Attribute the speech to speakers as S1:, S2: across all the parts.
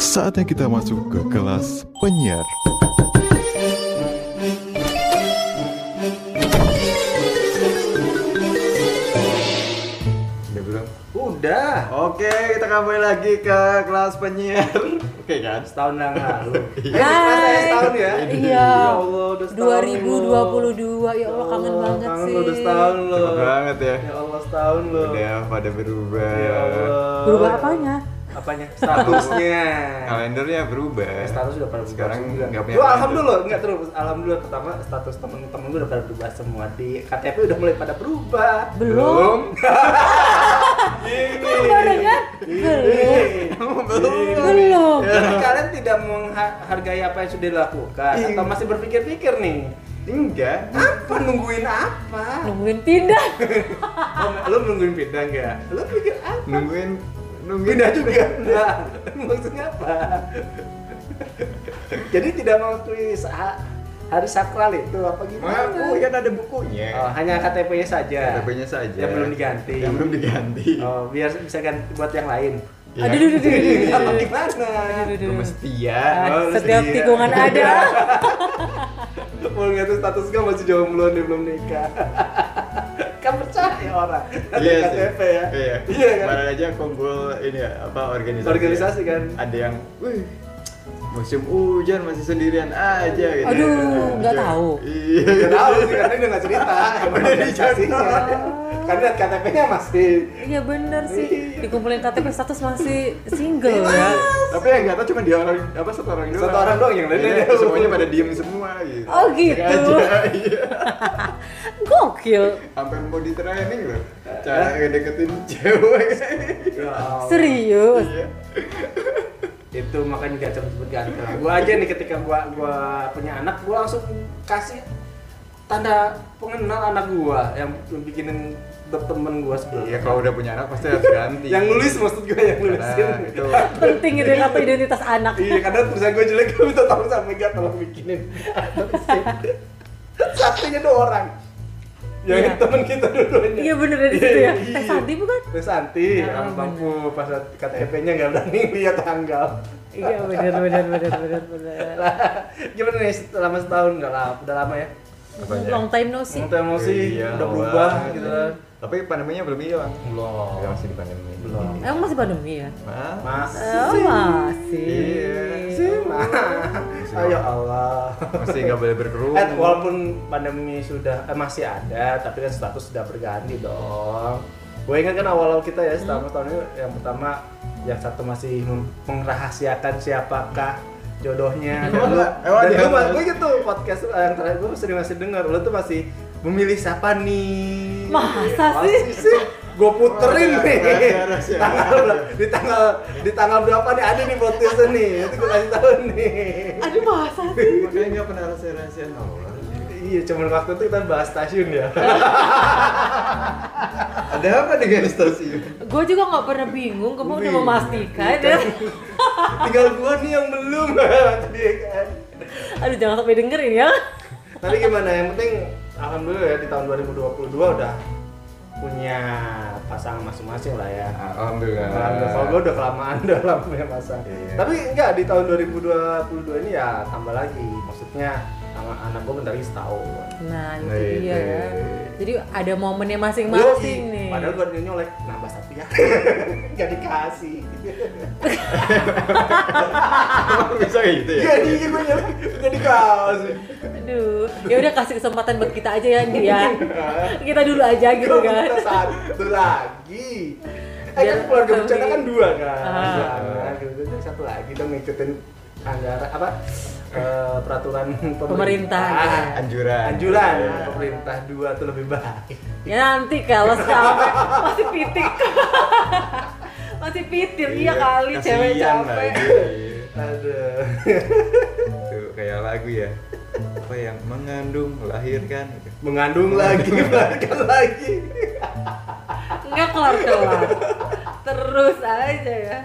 S1: Saatnya kita masuk ke kelas penyiar.
S2: Udah belum?
S3: Udah. Oke, kita kembali lagi ke kelas penyiar. Oke kan?
S2: Setahun yang lalu.
S3: Eh, masa ya setahun ya?
S4: Iya.
S3: Ya Allah, udah setahun loh.
S4: 2022 ya Allah kangen banget
S3: kangen
S4: sih.
S3: lo, udah setahun loh.
S2: Cepet banget ya.
S3: Ya Allah, setahun loh.
S2: Udah pada berubah.
S3: Ya Allah.
S4: Berubah apanya?
S3: Apanya? Statusnya.
S2: Kalendernya berubah.
S3: Ya, status udah pada berubah
S2: Sekarang
S3: sembilan.
S2: nggak punya.
S3: Gua
S2: kalender.
S3: alhamdulillah, enggak terus. Alhamdulillah pertama status temen-temen gue udah pada berubah semua di KTP udah mulai pada berubah.
S4: Belum. Kok baru ya? Belum.
S3: Belum.
S4: Belum.
S3: Jadi kalian tidak menghargai apa yang sudah dilakukan
S2: Iya.
S3: atau masih berpikir-pikir nih?
S2: Enggak.
S3: Apa nungguin apa?
S4: Nungguin pindah.
S3: Lo, lo nungguin pindah nggak? Lo pikir apa?
S2: Nungguin nungguin
S3: Pindah juga nggak? Maksudnya apa? Jadi tidak mengakui sa- hari sakral itu apa gimana?
S2: Mengaku kan ada bukunya.
S3: Oh, hanya KTP-nya saja.
S2: KTP-nya saja.
S3: Yang belum diganti.
S2: Yang belum diganti.
S3: Oh, biar bisa ganti buat yang lain.
S2: Ya.
S4: Aduh, aduh, aduh, aduh,
S3: Apa
S2: Iya.
S4: aduh.
S3: gimana?
S4: Aduh,
S2: Gue
S4: aduh.
S2: setia.
S4: Ah,
S3: Oh, lu
S4: Setiap
S3: setia.
S4: tikungan ada.
S3: Mau lihat status gue masih jomblo nih belum nikah. kan percaya orang. Ada
S2: Iya sih.
S3: KTP ya.
S2: Iya.
S3: Iya kan.
S2: Kemarin aja kumpul ini ya, apa organisasi.
S3: Organisasi
S2: ya.
S3: kan.
S2: Ada yang, wih, musim hujan masih sendirian aja gitu.
S4: Aduh, nggak
S2: Hujan.
S4: tahu.
S2: Iya.
S3: Gak tahu sih karena dia nggak cerita. Emang organisasinya. Karena lihat KTP-nya masih.
S4: Iya bener sih. Dikumpulin KTP status masih
S3: Iya.
S4: single ya.
S2: Tapi yang nggak tahu cuma dia orang apa satu orang doang.
S3: Ah. Satu orang doang yang lainnya
S2: Iya,
S3: dia tahu.
S2: semuanya pada diem semua gitu.
S4: Oh, gitu.
S2: Sengaja, iya.
S4: Gokil.
S2: Sampai mau di training
S3: Eh?
S2: loh. Cara ngedeketin cewek.
S3: Ya Allah.
S4: Serius.
S2: Iya.
S3: itu makanya gak cepet-cepet ganteng gua aja nih ketika gua gua punya anak gua langsung kasih tanda pengenal anak gua yang bikinin temen gua
S2: Iya,
S3: sebelumnya
S2: kalau udah punya anak pasti harus ganti.
S3: yang nulis maksud gua yang nulisin
S2: Karena itu
S4: Penting itu apa identitas anak.
S3: iya kadang tulisan gua jelek gua minta tolong sama Mega tolong bikinin satunya dua orang yang
S4: Iya.
S3: temen kita dulunya
S4: Iya bener dari situ ya. Teh Santi bukan?
S3: terus Santi
S4: Ah,
S3: sama Bang
S4: bener.
S3: Pu pas KTP-nya gak berani lihat tanggal
S4: Iya bener bener bener bener bener.
S3: gimana nih selama setahun nggak lah udah lama ya
S2: Apanya?
S4: Long time no see.
S3: Untuk emosi
S2: Iya,
S3: udah berubah
S2: awalnya.
S3: gitu kan.
S2: Tapi pandeminya belum hilang.
S3: Belum.
S2: Ya, masih di pandemi.
S3: Belum.
S4: Emang masih pandemi ya?
S2: Mas.
S4: Oh,
S3: Masih.
S4: masih.
S2: Iya.
S3: Masih. Oh ya Allah.
S2: Masih nggak boleh berkerumun.
S3: Eh, walaupun pandemi sudah eh, masih ada, tapi kan status sudah berganti dong. Gue ingat kan awal-awal kita ya,
S4: Hmm.
S3: setahun tahun ini yang pertama yang satu masih mem- merahasiakan siapakah
S4: Iya.
S3: jodohnya.
S2: Emang
S3: Dan lu-
S2: ada-
S4: Eh,
S2: emang ada-
S3: dan gue, gue gitu podcast eh, yang terakhir gue sering masih dengar, lo tuh masih memilih siapa nih?
S4: Masa sih?
S3: Pasti sih gue puterin
S2: Wah,
S3: nih
S2: rahasia, rahasia.
S3: tanggal ber- di tanggal di tanggal berapa nih ada nih podcastnya nih itu gue kasih tahu nih
S4: Aduh masa sih?
S2: Makanya nggak pernah rahasia-rahasiaan Allah.
S3: iya cuman waktu itu kita bahas stasiun ya
S2: Ada apa dengan stasiun?
S4: Gue juga nggak pernah bingung, kamu udah
S3: Bingung.
S4: memastikan ya.
S3: tinggal gue nih yang belum tadi kan
S4: Aduh jangan sampai dengerin ya.
S3: tapi gimana yang penting alhamdulillah ya di tahun 2022 udah punya pasangan masing-masing lah ya
S2: Alhamdulillah.
S3: Alhamdulillah, kalau gue udah kelamaan dalam punya pasangan.
S2: Iya.
S3: Tapi enggak di tahun 2022 ini ya tambah lagi. Maksudnya sama anak gue bentar lagi setahun.
S4: Nah itu
S2: Nah, itu.
S4: dia ya. Jadi ada momennya
S3: iya. Yoi.
S4: masing-masing nih.
S3: Padahal gue nyolek nambah satu ya. Gak dikasih.
S2: Iya, bisa gitu ya?
S3: Iya iya gue nyolek gak dikasih.
S4: Aduh, ya udah kasih kesempatan buat kita aja ya, Andri ya. kita dulu aja gitu
S3: Gue
S4: kan.
S3: minta satu lagi. Eh kan
S4: Biar
S3: keluarga
S4: lebih.
S3: bencana kan dua kan.
S4: Ah.
S3: Jangan, gitu. Jadi satu lagi dong ngikutin anggaran apa eh, peraturan pemerintah. Ah,
S4: Pemerintah, ya.
S2: Anjuran.
S3: Anjuran.
S2: Iya.
S3: Pemerintah dua tuh lebih baik.
S4: Ya nanti kalau sampai masih pitik. masih pitir iya kali cewek
S2: Kasihan
S4: capek.
S2: lagi.
S3: Aduh.
S2: Itu kayak lagu ya. Apa yang mengandung, melahirkan. gitu.
S3: Mengandung lagi, melahirkan lagi.
S4: Enggak kelar-kelar. Terus aja ya.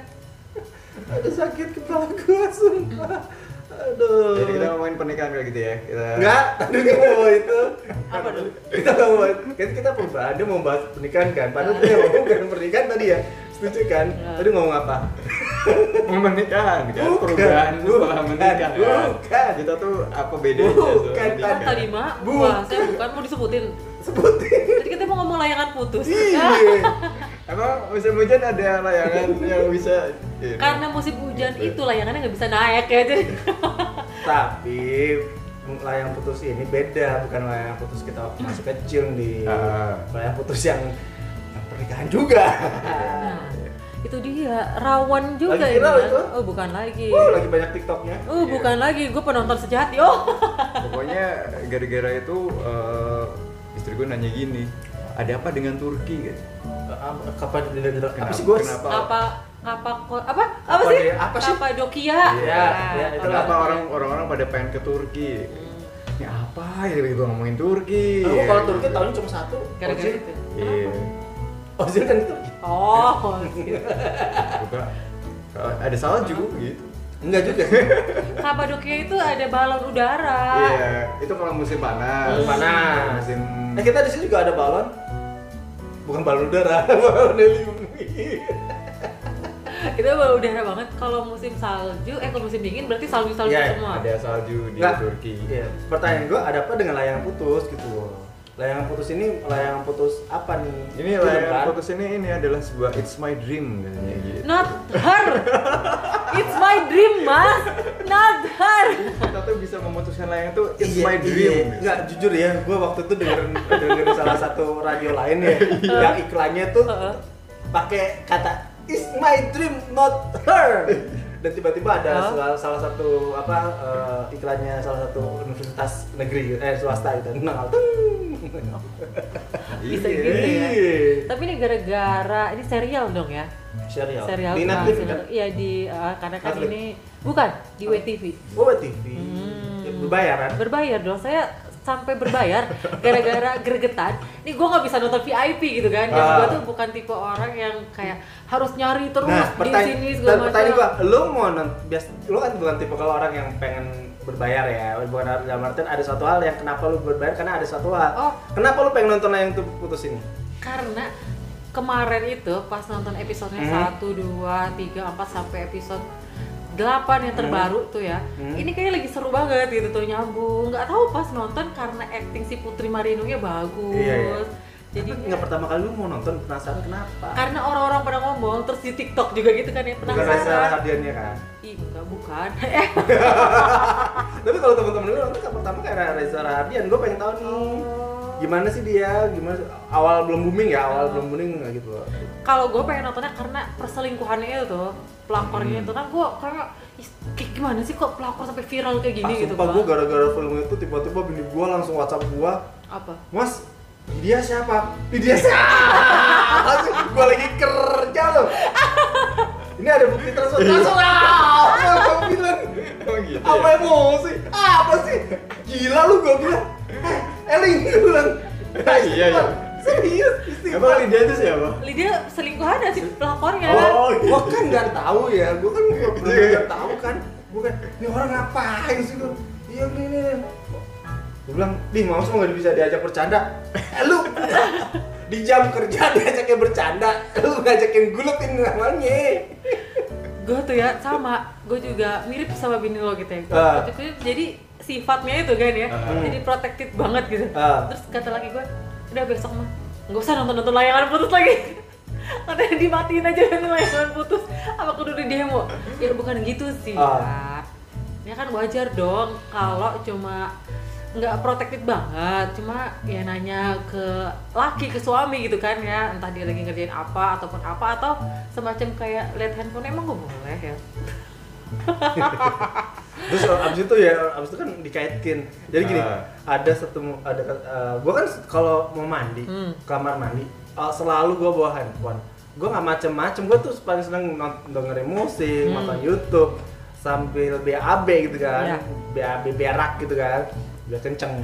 S3: Aduh sakit kepala gue sumpah. Aduh.
S2: Jadi kita ngomongin pernikahan kayak gitu ya. Kita
S3: Enggak, tadi dia mau bawa itu.
S4: Apa dulu?
S3: Kita mau bahas, kan kita perubahan, dia
S4: Ah.
S3: mau bahas pernikahan kan. Padahal dia mau bukan pernikahan tadi ya. Setuju kan? Tadi ngomong apa?
S2: Pernikahan kan?
S3: Bukan,
S2: Perubahan setelah
S3: bukan,
S2: menikah kan?
S3: bukan.
S2: Kita tuh apa bedanya tuh
S3: Bukan,
S2: menikah?
S4: Kan tadi mak,
S3: Iya, Bu.
S4: wah saya bukan mau disebutin.
S3: Sebutin.
S4: Tadi kita mau ngomong layangan putus.
S3: Iya.
S2: Emang musim hujan ada layangan yang bisa ini?
S4: Karena musim hujan itu layangannya nggak bisa naik ya jadi.
S3: Tapi layang putus ini beda, bukan layang putus kita waktu masih kecil nih.
S2: Ah.
S3: Layang putus yang, yang pernikahan juga.
S4: Nah, itu dia rawan juga
S3: Lagi
S4: ini
S3: viral
S4: kan.
S3: itu.
S4: Oh bukan lagi.
S3: Wuh, lagi banyak TikToknya.
S4: Oh bukan lagi, gue penonton sejati. Oh.
S2: Pokoknya gara-gara itu eh, istri gue nanya gini, ada apa dengan Turki? Gitu.
S3: Apa- Ah, Kapan apa
S2: Kenapa-
S3: sih gue?
S2: kenapa?
S4: apa apa ko- apa apa
S3: Apa
S4: sih
S3: dia- apa sih?
S4: Kapadokia Nah,
S3: Iya, iya, itu
S2: Kenapa orang orang-orang pada pengen ke Turki? Ini apa ya gitu ngomongin Turki?
S3: Aku kalau Turki tahunnya cuma satu.
S4: gara-gara
S3: Ozil.
S4: itu
S2: Iya.
S3: Ozil kan Turki.
S4: oh Ozil.
S2: Buka. "Eh, Ada salju gitu.
S3: Enggak juga.
S4: Kapadokia itu ada balon udara
S2: Iya, itu kalau musim panas. Eh,
S3: Musim panas.
S2: Musim
S3: Nah kita di sini juga ada balon. Bukan balon udara, balon helium.
S2: Iya,
S4: itu balon udara banget kalau musim salju eh kalau musim dingin berarti salju salju
S3: Iya,
S4: semua
S2: ada salju di
S3: Nggak.
S2: Turki.
S3: Iya. Pertanyaan gue ada apa dengan layangan putus gitu loh. Layangan putus ini layangan putus apa nih?
S2: Ini
S3: Film, kan?
S2: layar fokus ini ini adalah sebuah it's my dream katanya gitu.
S4: not her it's my dream mas not her
S2: Kita tuh bisa memutuskan layang tuh it's
S3: Iya,
S2: my dream.
S3: Iya. Nggak, jujur ya, gue waktu itu dengerin, dengerin salah satu radio lain ya, yang iklannya tuh
S4: Heeh.
S3: pakai kata It's my dream, not her. Dan tiba-tiba ada
S4: Heeh.
S3: salah, salah satu apa eh, iklannya salah satu universitas negeri eh swasta itu nah tung.
S4: bisa
S2: Iya.
S4: gitu ya
S3: Iya.
S4: tapi ini gara-gara ini serial dong ya
S3: serial.
S4: serial
S3: Iya. Di
S4: Trans.
S3: Netflix kan?
S4: iya di eh, karena kan
S3: Netflix.
S4: ini bukan di WTV
S3: Oh TV.
S4: Hmm.
S3: Ya, Berbayaran.
S4: berbayar dong saya sampai berbayar gara-gara gregetan nih gue nggak bisa nonton VIP gitu kan dan
S3: Ah.
S4: gue tuh bukan tipe orang yang kayak harus nyari terus
S3: Nah,
S4: di
S3: pertanya-
S4: sini
S3: dan
S4: segala
S3: pertanyaan gua,
S4: macam
S3: lu mau non bias, lu kan bukan tipe kalau orang yang pengen berbayar ya, bukan dalam artian ada satu hal yang kenapa lu berbayar karena ada satu hal.
S4: Oh.
S3: Kenapa lu pengen nonton yang tuh putus ini?
S4: karena kemarin itu pas nonton episodenya
S3: Hmm.
S4: satu dua tiga empat sampai episode 8 yang terbaru tuh ya
S3: Hmm.
S4: ini kayaknya lagi seru banget gitu tuh nyambung nggak tahu pas nonton karena acting si Putri Marinungnya bagus
S3: Iya, iya.
S4: jadi
S3: Tapi nggak pertama kali lu mau nonton penasaran kenapa?
S4: karena orang-orang pada ngomong terus di TikTok juga gitu kan ya
S3: Bukan rasa
S4: penasaran
S3: hadiahnya kan.
S4: Ih, enggak bukan. Eh,
S3: Tapi kalau teman-teman lu nonton kan pertama kayak Reza Rahadian, gua pengen tahu
S2: Oh.
S3: nih gimana sih dia, gimana awal belum booming ya, awal belum booming nggak gitu. loh.
S4: kalau gue pengen nontonnya karena perselingkuhannya itu
S3: Hmm.
S4: pelakornya itu kan gue karena "Ih, kayak gimana sih kok pelakor sampai viral kayak gini
S3: Ah,
S4: gitu
S3: sumpah gua
S4: Bang?"
S3: gara-gara film itu tiba-tiba bini gua langsung WhatsApp gua,
S4: apa
S3: Mas, dia siapa? Dia siapa? gue lagi kerja loh. Ini ada bukti transfer transfer apa yang kamu bilang?
S2: Oh gitu.
S3: Apa emosi? Apa sih? Gila lu gue bilang. Eh, Eling gue bilang.
S2: Iya, iya.
S3: Serius?
S2: ya?
S3: Istighfar.
S2: Emang Lydia itu siapa?
S4: Lydia selingkuhannya ya, si pelakornya
S3: Oh,
S2: iya.
S3: gue kan nggak tahu ya. Gue kan nggak pernah nggak tahu kan. Gue kan, ini orang ngapain sih gue? Iya ini ini. Gue bilang, di mau semua nggak bisa diajak bercanda. Eh, lu di jam kerja diajaknya bercanda, lu ngajakin guletin namanya.
S4: gue tuh ya sama gue juga mirip sama bini lo gitu ya
S3: Ah.
S4: Waktu itu jadi sifatnya itu kan ya
S2: Ah.
S4: jadi protektif banget gitu
S3: Ah.
S4: terus kata lagi gue udah besok mah nggak usah nonton nonton layangan putus lagi katanya dimatiin aja nonton layangan putus apa kudu di demo ya bukan gitu sih
S3: Ah.
S4: ya. ya kan wajar dong kalau cuma nggak protektif banget cuma ya nanya ke laki ke suami gitu kan ya entah dia lagi ngerjain apa ataupun apa atau semacam kayak lihat handphone emang gue boleh ya
S3: Terus abis itu ya, abis itu kan dikaitkin. Jadi gini,
S2: Ah.
S3: ada satu, ada, gue kan kalau mau mandi,
S4: Hmm.
S3: kamar mandi, eh, selalu gue bawa handphone. Gue nggak macem-macem, gue tuh paling seneng non- dengerin
S4: Hmm.
S3: musik, nonton YouTube, sambil BAB gitu kan,
S4: Iya.
S3: BAB berak gitu kan, biar kenceng.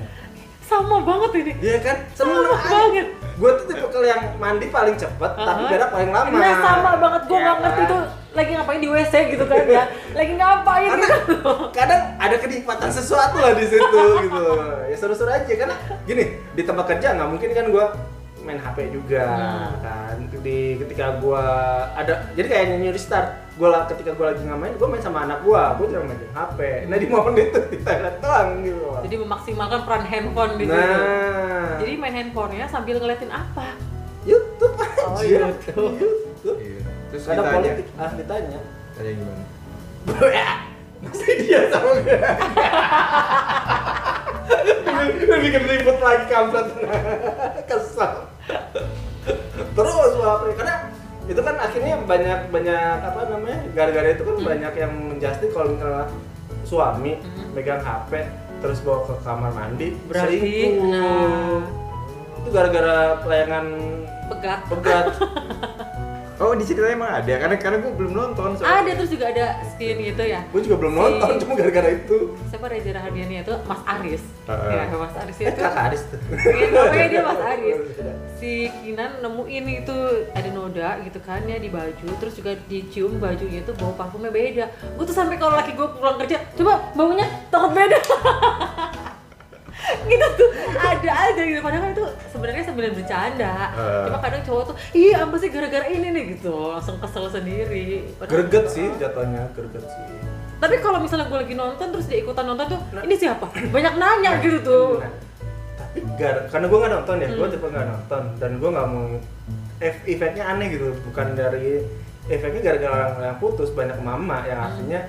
S4: sama banget ini
S3: Iya kan,
S4: Sama banget.
S3: Gue tuh tipe yang mandi paling cepet, tapi
S4: Uh-huh.
S3: berak paling lama.
S4: Iya sama banget, gue
S3: Iya
S4: nggak ngerti
S3: kan?
S4: tuh lagi ngapain di WC gitu kan ya Lagi ngapain
S3: karena
S4: gitu
S3: kadang ada kenikmatan sesuatu lah di situ gitu ya seru-seru aja karena gini di tempat kerja nggak mungkin kan gua main HP juga
S4: Hmm.
S3: kan di ketika gua ada jadi kayak nyanyi restart gua lah ketika gua lagi nggak main gua main sama anak gua gua jarang main game HP nah di momen itu di toilet doang gitu loh.
S4: Jadi memaksimalkan peran handphone di situ.
S3: nah
S4: Jadi main handphonenya sambil ngeliatin apa?
S3: YouTube aja
S4: Oh, YouTube.
S3: YouTube
S2: Iya. Terus
S3: kadang
S2: ditanya,
S3: politik ah ditanya
S2: tanya gimana?
S3: Bro ya, mesti dia sama gue. Gue bikin ribut lagi kampret. Kesel. Terus apa karena itu kan akhirnya banyak banyak apa namanya gara-gara itu kan banyak yang menjustin kalau misalnya suami
S4: Hmm.
S3: megang HP terus bawa ke kamar mandi
S4: Berarti,
S3: selingkuh.
S4: nah.
S3: itu gara-gara pelayanan
S4: Pegat.
S3: pegat
S2: Oh di ceritanya emang ada karena karena gue belum nonton
S4: Ada terus juga ada skin gitu ya.
S3: gue juga belum nonton
S4: Si-
S3: cuma gara-gara itu
S4: Siapa Reza Rahardiannya itu Mas Aris.
S2: Heeh.
S4: Ya, Mas Aris
S3: eh
S4: itu.
S3: kakak Aris tuh
S4: Iya, namanya dia Mas Aris. Si Kinan nemuin itu ada noda gitu kan ya di baju, terus juga dicium bajunya itu bau parfumnya beda. Gue tuh sampai kalau laki gue pulang kerja, coba baunya takut beda. gitu tuh ada aja gitu padahal kan itu sebenarnya sebenarnya bercanda
S2: Eh.
S4: cuma kadang cowok tuh iya apa sih gara-gara ini nih gitu langsung kesel sendiri Padahal-
S3: Greget sih jatuhnya, greget sih.
S4: tapi kalau misalnya gue lagi nonton terus dia ikutan nonton tuh
S2: Nah.
S4: ini siapa banyak nanya gitu tuh
S3: Nah, tapi gar karena gue nggak nonton ya, gue tipe nggak nonton dan gue nggak mau ef- efeknya aneh gitu, bukan dari efeknya gara-gara orang yang putus banyak mama yang artinya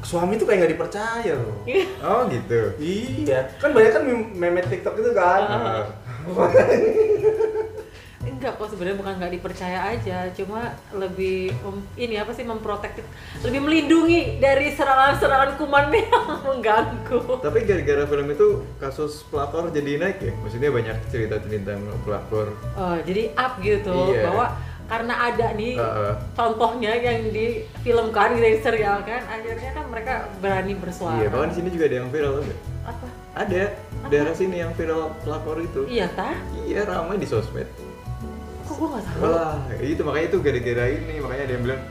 S3: suami tuh kayak nggak dipercaya loh.
S2: Oh gitu.
S3: Iya, kan banyak kan mem- meme TikTok itu kan.
S2: Heeh.
S4: enggak kok sebenarnya bukan nggak dipercaya aja cuma lebih mem- ini apa sih memprotektif lebih melindungi dari serangan-serangan kuman yang mengganggu
S2: Tapi gara-gara film itu kasus pelakor jadi naik ya. Maksudnya banyak cerita tentang pelakor.
S4: Eh, jadi up gitu
S2: Iya.
S4: bahwa karena ada nih
S2: Heeh.
S4: contohnya yang difilmkan gitu, yang serial kan akhirnya kan mereka berani bersuara
S2: Iya, bahkan di sini juga ada yang viral tuh.
S4: apa
S2: Ada daerah sini yang viral pelakor itu.
S4: iya tah
S2: Iya ramai di sosmed.
S4: kok gue nggak tahu
S2: Wah itu makanya itu gara-gara ini makanya ada yang bilang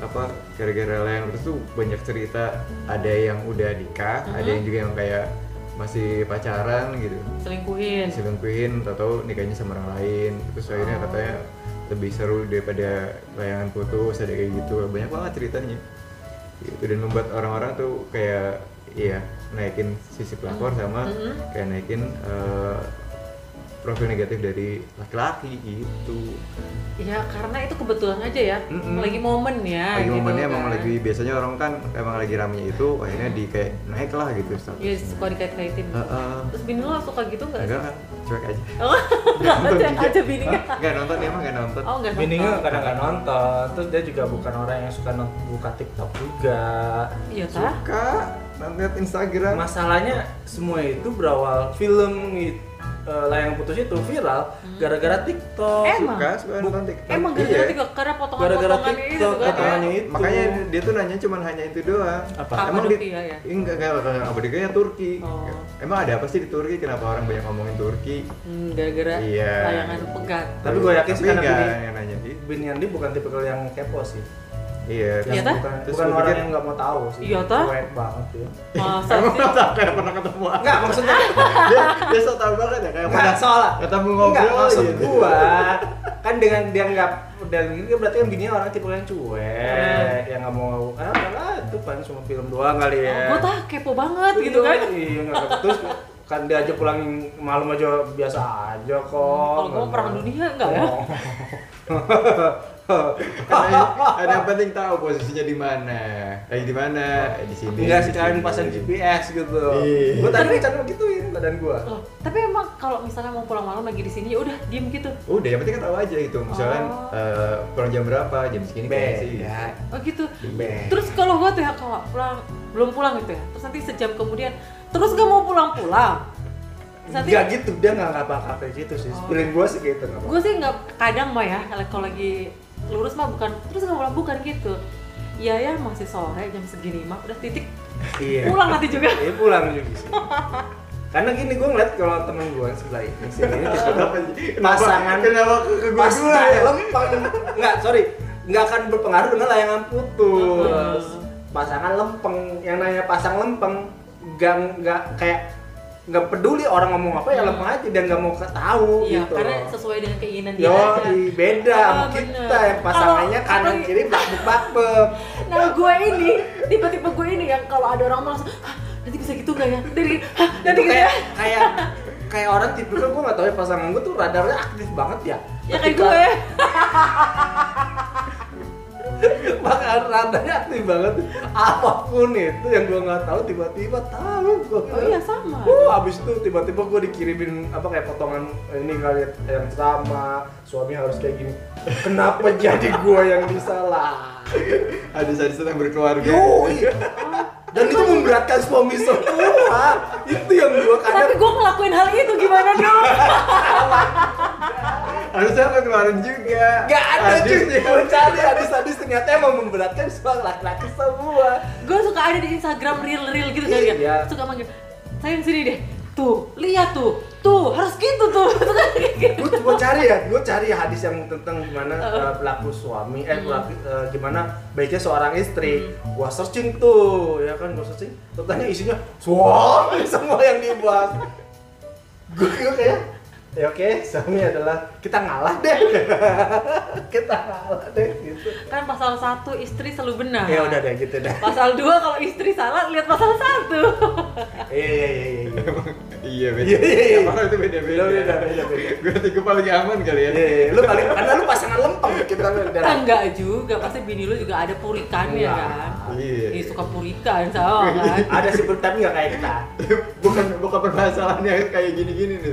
S2: apa gara-gara layan terus tuh banyak cerita ada yang udah nikah, ada yang juga yang kayak masih pacaran gitu.
S4: selingkuhin
S2: diselingkuhin atau nikahnya sama orang lain terus akhirnya katanya lebih seru daripada layangan putus ada kayak gitu banyak banget ceritanya gitu dan membuat orang-orang tuh kayak iya naikin sisi pelakor sama
S4: Mhm.
S2: kayak naikin eh, profil negatif dari laki-laki gitu
S4: Ya karena itu kebetulan aja ya,
S2: Mm-mm.
S4: lagi momen ya.
S2: lagi
S4: gitu
S2: momennya
S4: kan.
S2: emang lagi biasanya orang kan emang lagi ramenya itu akhirnya di kayak naik lah gitu status
S4: Ya suka dikait-kaitin.
S2: Heeh.
S4: Terus bini lo suka gitu nggak?
S2: enggak kan cuek aja
S4: Oh, nggak aja, aja bininya.
S2: Hah? nggak nonton ya emang nggak nonton
S4: Oh nggak.
S3: Bininya
S4: suka.
S3: kadang nggak nonton, terus dia juga bukan orang yang suka nont- buka TikTok juga.
S4: Iya tah?
S2: Kak, lihat Instagram.
S3: masalahnya semua itu berawal film eh, layang putus itu viral gara-gara TikTok.
S4: Hmm. Emang.
S2: Suka, suka nonton TikTok.
S4: Emang
S2: Iya.
S4: gara-gara TikTok karena
S3: Gara-gara
S4: potongan-potongannya itu
S3: TikTok,
S4: kan.
S3: potongannya
S4: ya.
S3: itu.
S2: Makanya dia tuh nanya cuman hanya itu doang.
S3: Apa?
S2: Emang di
S4: Kapadokia ya?
S2: Enggak, enggak, enggak, enggak. Kapadokianya Turki.
S4: Oh.
S2: Emang ada apa sih di Turki? Kenapa orang banyak ngomongin Turki?
S4: Hmm, gara-gara
S2: Iya.
S4: layangan pegat.
S3: Tapi gua yakin
S2: Tapi
S3: sekarang
S2: enggak
S3: gini-
S2: yang nanya gitu.
S3: Bin Yandi bukan tipe yang kepo sih.
S2: Iya.
S4: Iya,
S3: Yang
S4: tah?
S3: bukan,
S2: Terus
S3: bukan
S2: lu
S3: orang
S2: pikir-
S3: yang nggak mau tahu sih.
S4: Iya, tah?
S3: Cuek banget ya.
S4: Masa
S2: Emang
S4: sih?
S2: tau kayak pernah ketemu aku.
S3: Enggak maksudnya
S4: Ah.
S2: dia, dia so tau banget ya kayak
S3: enggak
S2: pernah
S3: salah.
S2: ketemu
S3: Enggak
S2: ngobrol
S3: maksud
S2: gitu.
S3: gua kan dengan dia nggak dan gitu berarti kan bininya orang tipe yang
S4: Hmm.
S3: cuek, yang nggak mau ah udahlah, itu paling cuma film doang kali
S2: Iya.
S3: ya.
S4: Gue tah kepo banget gitu kan.
S3: Iya, nggak dapet. terus kan dia aja pulang malam aja biasa aja kok.
S4: Kalau gua perang dunia enggak ya?
S3: Oh.
S2: Karena ada yang penting tahu posisinya di mana. Lagi di mana? Eh, Di sini.
S3: Enggak Iya sih kan
S2: di
S3: kalian
S2: sini.
S3: pasang GPS gitu.
S2: Iya.
S3: Gua tadi rencana mau gituin badan gua.
S4: Loh, tapi emang kalau misalnya mau pulang malam lagi di sini ya udah diem gitu.
S2: Udah, yang penting kan tahu aja gitu. Misalkan
S4: Oh.
S2: eh, pulang jam berapa, jam segini kayaknya sih.
S3: Beda.
S4: Oh gitu.
S2: Iya.
S3: Beda.
S4: Terus kalau gua tuh ya kalau pulang belum pulang gitu ya. Terus nanti sejam kemudian terus gak mau pulang-pulang. Terus nanti
S3: Enggak gitu, dia enggak ngapa-ngapa kayak gitu sih.
S4: Oh.
S3: Brain gua sih gitu enggak apa
S4: gue sih nggak kadang mah ya kalau- kalau lagi lurus mah bukan terus nggak pulang bukan gitu. Iya ya masih sore jam segini mah udah titik
S3: Iya.
S4: pulang nanti juga.
S3: Iya pulang juga sih. Karena gini gua ngeliat kalau temen gua yang sebelah ini sih, ini
S2: Kenapa
S3: Pasangan.
S2: kenapa ke, ke gua
S3: pas
S2: dulu ya?
S3: lempeng nggak sorry nggak akan berpengaruh dengan layangan putus
S4: Hmm.
S3: pasangan lempeng yang nanya pasang lempeng nggak nggak kayak nggak peduli orang ngomong apa ya lemah aja dan nggak mau tahu
S4: Hmm. Iya,
S3: gitu
S4: karena
S3: loh.
S4: sesuai dengan keinginan dia
S3: Yo,
S4: aja.
S3: beda
S4: Ah,
S3: sama
S4: bener.
S3: kita yang pasangannya
S4: Kalau-
S3: kanan
S4: kalau-
S3: kiri bak bak bak.
S4: Nah, gue ini tiba-tiba gue ini yang kalau ada orang ngomong langsung "Hah, nanti bisa gitu nggak ya? Nanti, hah, nanti gitu ya?
S3: kayak kayak kayak orang tipe gue nggak tahu ya pasangan gue tuh radarnya aktif banget ya.
S4: Ya kayak
S3: Ketika-
S4: gue.
S3: Bahkan radarnya aktif banget. Apapun itu yang gue nggak tahu tiba-tiba tahu gue.
S4: Oh iya sama.
S3: Wuh, abis itu tiba-tiba gue dikirimin apa kayak potongan ini kali yang sama suami harus kayak gini. Kenapa jadi gue yang disalah?
S2: Ada sadis yang berkeluarga.
S3: Yoi. Dan itu memberatkan suami semua. Itu yang gue
S4: Tapi
S3: kadang
S4: gue ngelakuin hal itu gimana dong?
S2: Harusnya lo keluarin juga.
S3: Gak ada cuy,
S2: Sadisnya.
S3: gue cari hadis-hadis ternyata emang memberatkan semua laki-laki semua
S4: gue suka ada di Instagram reel-reel gitu kan
S3: Iya.
S4: ya. Suka manggil, sayang sini deh. Tuh, lihat tuh. Tuh, harus gitu tuh. Tuh kan kayak gitu.
S3: Gue gue cari ya, gue cari hadis yang tentang gimana eh, pelaku suami, eh pelaku eh, gimana baiknya seorang istri Gue searching tuh, ya kan gue searching Ternyata isinya suami semua yang dibahas Gue kayak, ya oke suami adalah kita ngalah deh Kita ngalah deh gitu
S4: Kan pasal satu istri selalu benar.
S3: Ya udah deh gitu deh
S4: Pasal 2 kalau istri salah lihat pasal
S3: Iya
S4: 1.
S3: iya iya iya
S2: Iya beda.
S3: Iya, iya, iya.
S2: Orang itu beda beda.
S3: Beda, beda, beda.
S2: Gue tiga paling aman kali ya.
S3: Iya, iya. Lu paling, karena lu pasangan lempeng kita
S4: Ah, enggak juga, pasti bini lu juga ada puritannya
S3: Enggak.
S4: kan.
S2: Iya.
S4: Ih, suka puritan sama kan.
S3: Ada sih tapi nggak kayak kita
S2: Bukan bukan permasalahannya kayak gini gini nih.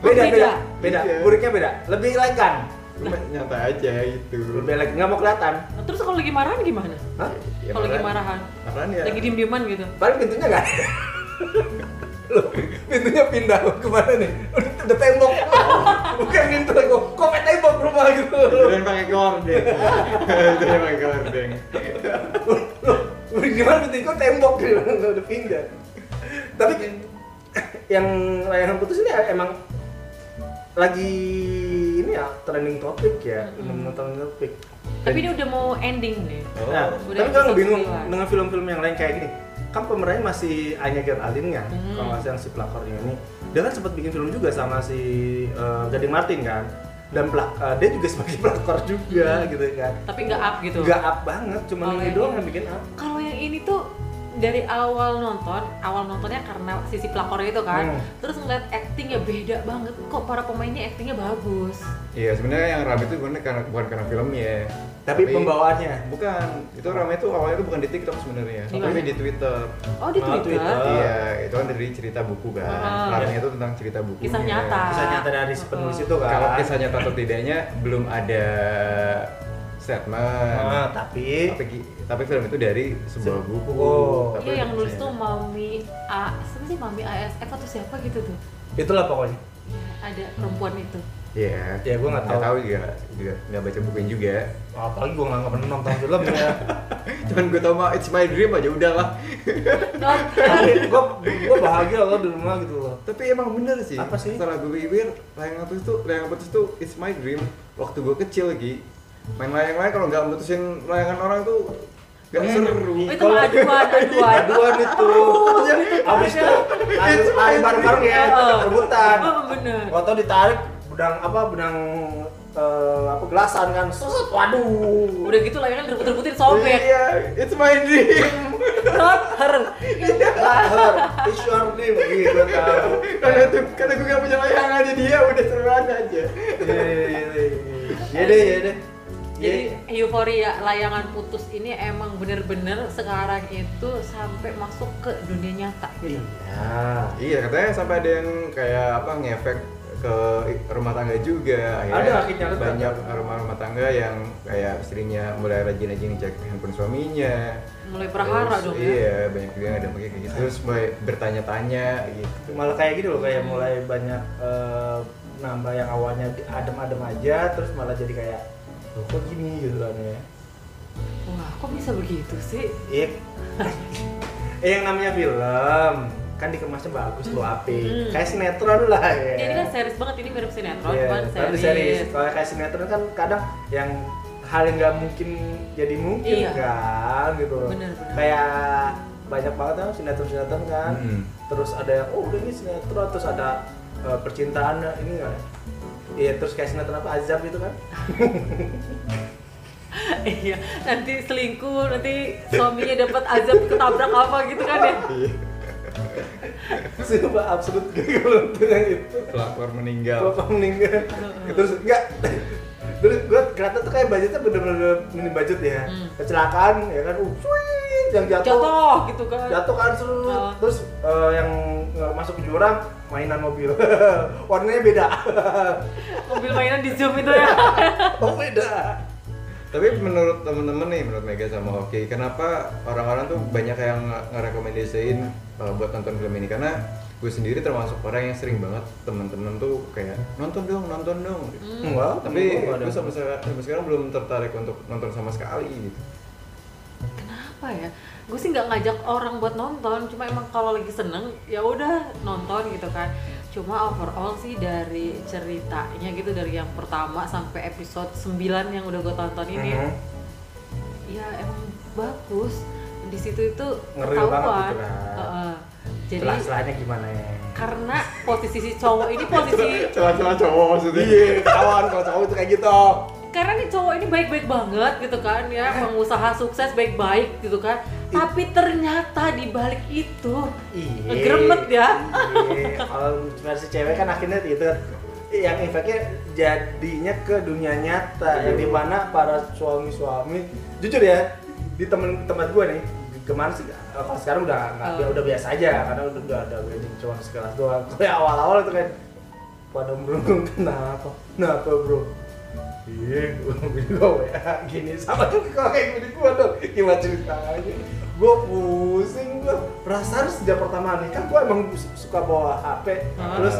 S3: beda
S4: Beda.
S3: beda beda
S2: Iya.
S3: buriknya beda lebih elegan
S2: Cuma nyata aja gitu. itu.
S3: lebih elegan nggak mau kelihatan
S4: Terus kalau lagi marahan gimana?
S3: Hah?
S2: Ya,
S4: kalau lagi marahan,
S2: Apaan ya?
S4: lagi diem-dieman gitu.
S3: paling pintunya nggak ada Loh, pintunya pindah kemana nih udah, udah tembok bukan pintu lagi kok kayak tembok rumah gitu
S2: Keren pakai gorden. Keren pakai gorden.
S3: Loh, gimana pintunya kok tembok gitu udah pindah tapi yang layanan putus ini emang lagi ini ya trending topik ya
S4: Mm-mm.
S3: trending topik
S4: Tapi ini udah mau ending nih.
S2: Oh.
S3: Nah,
S4: Udah
S3: tapi kalau
S4: episode
S3: bingung
S4: sembilan.
S3: dengan film-film yang lain kayak gini, kan pemerannya masih Anya Geraldine kan,
S4: Hmm.
S3: kalau nggak salah yang si pelakornya ini, dia kan sempat bikin film juga sama si eh, Gading Martin kan, dan pelak- eh, dia juga sebagai pelakor juga gitu kan,
S4: Tapi nggak up gitu.
S3: nggak up banget, cuma
S4: Kalau
S3: ini
S4: yang
S3: doang
S4: ini-
S3: yang bikin up.
S4: Kalau yang ini tuh dari awal nonton, awal nontonnya karena sisi pelakornya itu kan.
S3: Hmm.
S4: Terus ngeliat actingnya beda banget. Kok para pemainnya actingnya bagus.
S2: Iya sebenarnya yang rame itu sebenarnya karena bukan karena filmnya.
S3: Tapi, pembawaannya,
S2: Bukan, itu rame itu awalnya itu bukan di TikTok sebenarnya,
S4: Di
S2: tapi
S4: mana?
S2: di Twitter.
S4: Oh di
S3: Malah
S4: Twitter.
S3: Twitter.
S2: Iya, itu kan dari cerita buku kan.
S4: Ah.
S2: Rame itu tentang cerita buku.
S4: Kisah
S2: Ah.
S4: nyata.
S3: kisah nyata dari si penulis itu kan.
S2: Kalau kisah nyata atau tidaknya belum ada statement.
S3: Nah, tapi
S2: Tapi, tapi film itu dari sebuah
S3: Se-
S2: buku.
S3: Oh.
S2: Tapi
S4: Iya yang nulis
S2: kisah
S4: tuh
S2: nyata.
S4: Mami A, siapa sih Mami ASF atau siapa gitu tuh.
S3: itulah pokoknya.
S4: Iya, ada perempuan itu.
S2: Iya.
S3: Ya, gua nggak tahu.
S2: Nggak tahu juga, juga nggak baca bukunya juga.
S3: Apalagi gua nggak pernah nonton ya. filmnya.
S2: Cuman gue tau mah It's My Dream aja udahlah.
S4: Nonton.
S3: gue gue bahagia loh di rumah gitu loh.
S2: Tapi emang bener sih.
S3: Apa sih?
S2: Setelah gue pikir, layang putus tuh, layang putus tuh It's My Dream. Waktu gue kecil lagi, main layang-layang kalau nggak mutusin layangan orang tuh nggak
S3: Hmm.
S2: seru.
S4: Oh, itu mah aduan, aduan.
S3: aduan itu
S4: Oh,
S3: habis
S4: ya.
S3: itu habis lari bareng bareng ya
S4: Heeh.
S3: rebutan
S4: Iya. Oh, bener.
S3: gak tau ditarik benang apa benang eh, apa gelasan kan susut waduh
S4: Udah gitu lah ya kan rebut-rebutin sobek.
S2: Iya, It's My Dream.
S4: Not her.
S3: lahir it's your dream gitu kan
S2: Karena tuh, karena gue nggak punya layangan di dia udah seruan aja.
S3: Iya, iya, iya, iya. ya deh ya deh Ya.
S4: Jadi euforia layangan putus ini emang bener-bener sekarang itu sampai masuk ke dunia nyata.
S3: iya
S2: Iya, katanya sampai ada yang kayak apa ngefek ke rumah tangga juga.
S3: Ada, akhirnya ada.
S2: banyak rumah-rumah tangga yang kayak istrinya mulai rajin-rajin ngecek handphone suaminya.
S4: Mulai berharap
S2: Terus,
S4: dong ya.
S2: iya banyak juga yang ada pakai kayak gitu terus mulai bertanya-tanya gitu
S3: malah kayak gitu loh kayak mulai banyak eh, nambah yang awalnya di- adem-adem aja terus malah jadi kayak loh kok gini gitu kan ya
S4: Wah, kok bisa begitu sih?
S3: Iya. eh yang namanya film kan dikemasnya bagus tuh api.
S4: Hmm.
S3: Kayak sinetron lah ya.
S4: Ini kan series banget, ini mirip sinetron,
S3: Iya,
S4: cuman
S3: tapi
S4: series.
S3: serius. Kalau kayak sinetron kan kadang yang hal yang nggak mungkin jadi mungkin
S4: Iya.
S3: kan gitu. loh.
S4: Bener, bener.
S3: Kayak banyak banget kan sinetron-sinetron kan
S2: Hmm.
S3: terus ada yang oh udah ini sinetron terus ada eh, percintaan ini kan Iya terus kayak sinetron apa azab gitu kan
S4: iya nanti selingkuh nanti suaminya dapat azab ketabrak apa gitu kan ya
S3: Iya. Sumpah absolut gak nonton yang itu
S2: pelakor meninggal
S3: Bapak meninggal Terus enggak Terus gue kereta tuh kayak budgetnya bener-bener minim budget ya
S4: Hmm.
S3: Kecelakaan ya kan uh, swing, yang jatuh
S4: jatuh gitu kan
S3: Jatuh kan seru
S4: Oh.
S3: Terus eh, yang eh, masuk ke jurang mainan mobil Warnanya beda
S4: mobil mainan di zoom itu ya
S3: Oh beda
S2: tapi menurut temen-temen nih menurut Mega sama Oki kenapa orang-orang tuh banyak yang nge- ngerekomendasiin uh, buat nonton film ini karena gue sendiri termasuk orang yang sering banget temen-temen tuh kayak nonton dong nonton dong
S3: Wah,
S2: tapi
S3: gua nggak ada.
S2: gue sampai sekarang, sampai sekarang belum tertarik untuk nonton sama sekali gitu
S4: kenapa ya gue sih nggak ngajak orang buat nonton cuma emang kalau lagi seneng ya udah nonton gitu kan cuma overall sih dari ceritanya gitu dari yang pertama sampai episode 9 yang udah gue tonton ini
S3: Mhm.
S4: ya emang bagus di situ itu
S3: Ngeri banget
S4: ketahuan
S3: gitu kan.
S4: Heeh. jadi
S3: Celah-celahnya gimana ya
S4: karena posisi si cowok ini posisi
S2: celah-celah cowok maksudnya
S3: Iya, kawan kalau cowok itu kayak gitu
S4: karena nih cowok ini baik-baik banget gitu kan ya pengusaha sukses baik-baik gitu kan tapi ternyata di balik itu
S3: Iya.
S4: Ngegeremet ya.
S3: Iya. Kalau versi cewek kan akhirnya itu yang efeknya jadinya ke dunia nyata
S4: Iya.
S3: yang dimana para suami-suami jujur ya di temen tempat gue nih kemarin sih eh, kalau sekarang udah nggak ya
S4: Oh.
S3: udah biasa aja karena udah udah ada wedding cuma sekelas doang kalau yang awal-awal itu kan pada merundung kenapa kenapa bro iya gue juga WA gini sama juga kalau kayak gini gue dong gimana ceritanya gue pusing gue perasaan sejak pertama nikah gue emang su- suka bawa HP
S4: Ah.
S3: terus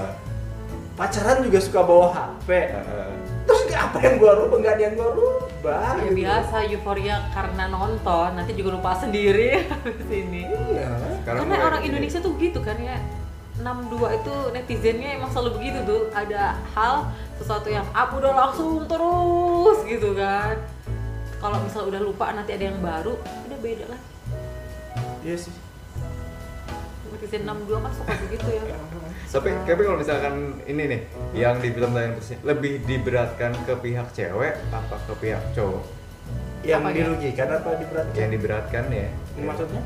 S3: pacaran juga suka bawa HP
S4: Ah.
S2: Heeh.
S3: terus nggak apa yang gue rubah nggak ada yang gue rubah
S4: Ya
S3: gitu.
S4: biasa euforia karena nonton, nanti juga lupa sendiri habis ini.
S3: iya
S2: Sekarang
S4: Karena
S2: mulai
S4: orang
S2: gini.
S4: Indonesia tuh gitu kan ya. 62 itu netizennya emang selalu begitu tuh. Ada hal sesuatu yang up udah langsung terus gitu kan. Kalau misal udah lupa nanti ada yang baru, udah beda lah.
S3: iya sih
S4: Netizen 62 kan suka begitu ya.
S2: tapi tapi kalau misalkan ini nih yang di film tayang tersebut lebih diberatkan ke pihak cewek apa ke pihak cowok
S3: yang
S4: Apanya? Iya.
S3: dirugikan apa diberatkan
S2: yang diberatkan ya
S3: maksudnya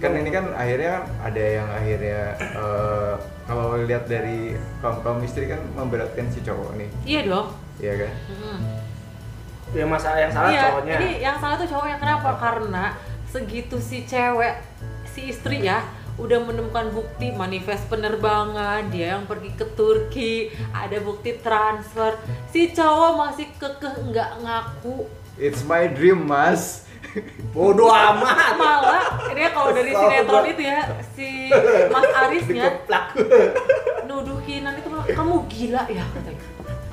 S2: kan ini kan akhirnya kan ada yang akhirnya eh, kalau lihat dari kaum kaum istri kan memberatkan si cowok nih
S4: Iya dong.
S2: ya kan
S4: Mm-mm.
S3: yang masalah Ya, yang salah
S4: iya,
S3: cowoknya
S4: Ini yang salah tuh cowoknya kenapa? Karena segitu si cewek, si istri ya udah menemukan bukti manifest penerbangan dia yang pergi ke Turki ada bukti transfer si cowok masih kekeh nggak ngaku
S2: it's my dream mas
S3: bodoh amat
S4: malah dia kalau dari
S3: Kesel
S4: sinetron
S3: banget.
S4: itu ya si Mas ya, Arisnya
S3: dikeplak
S4: nuduhinan itu bilang, kamu gila ya katanya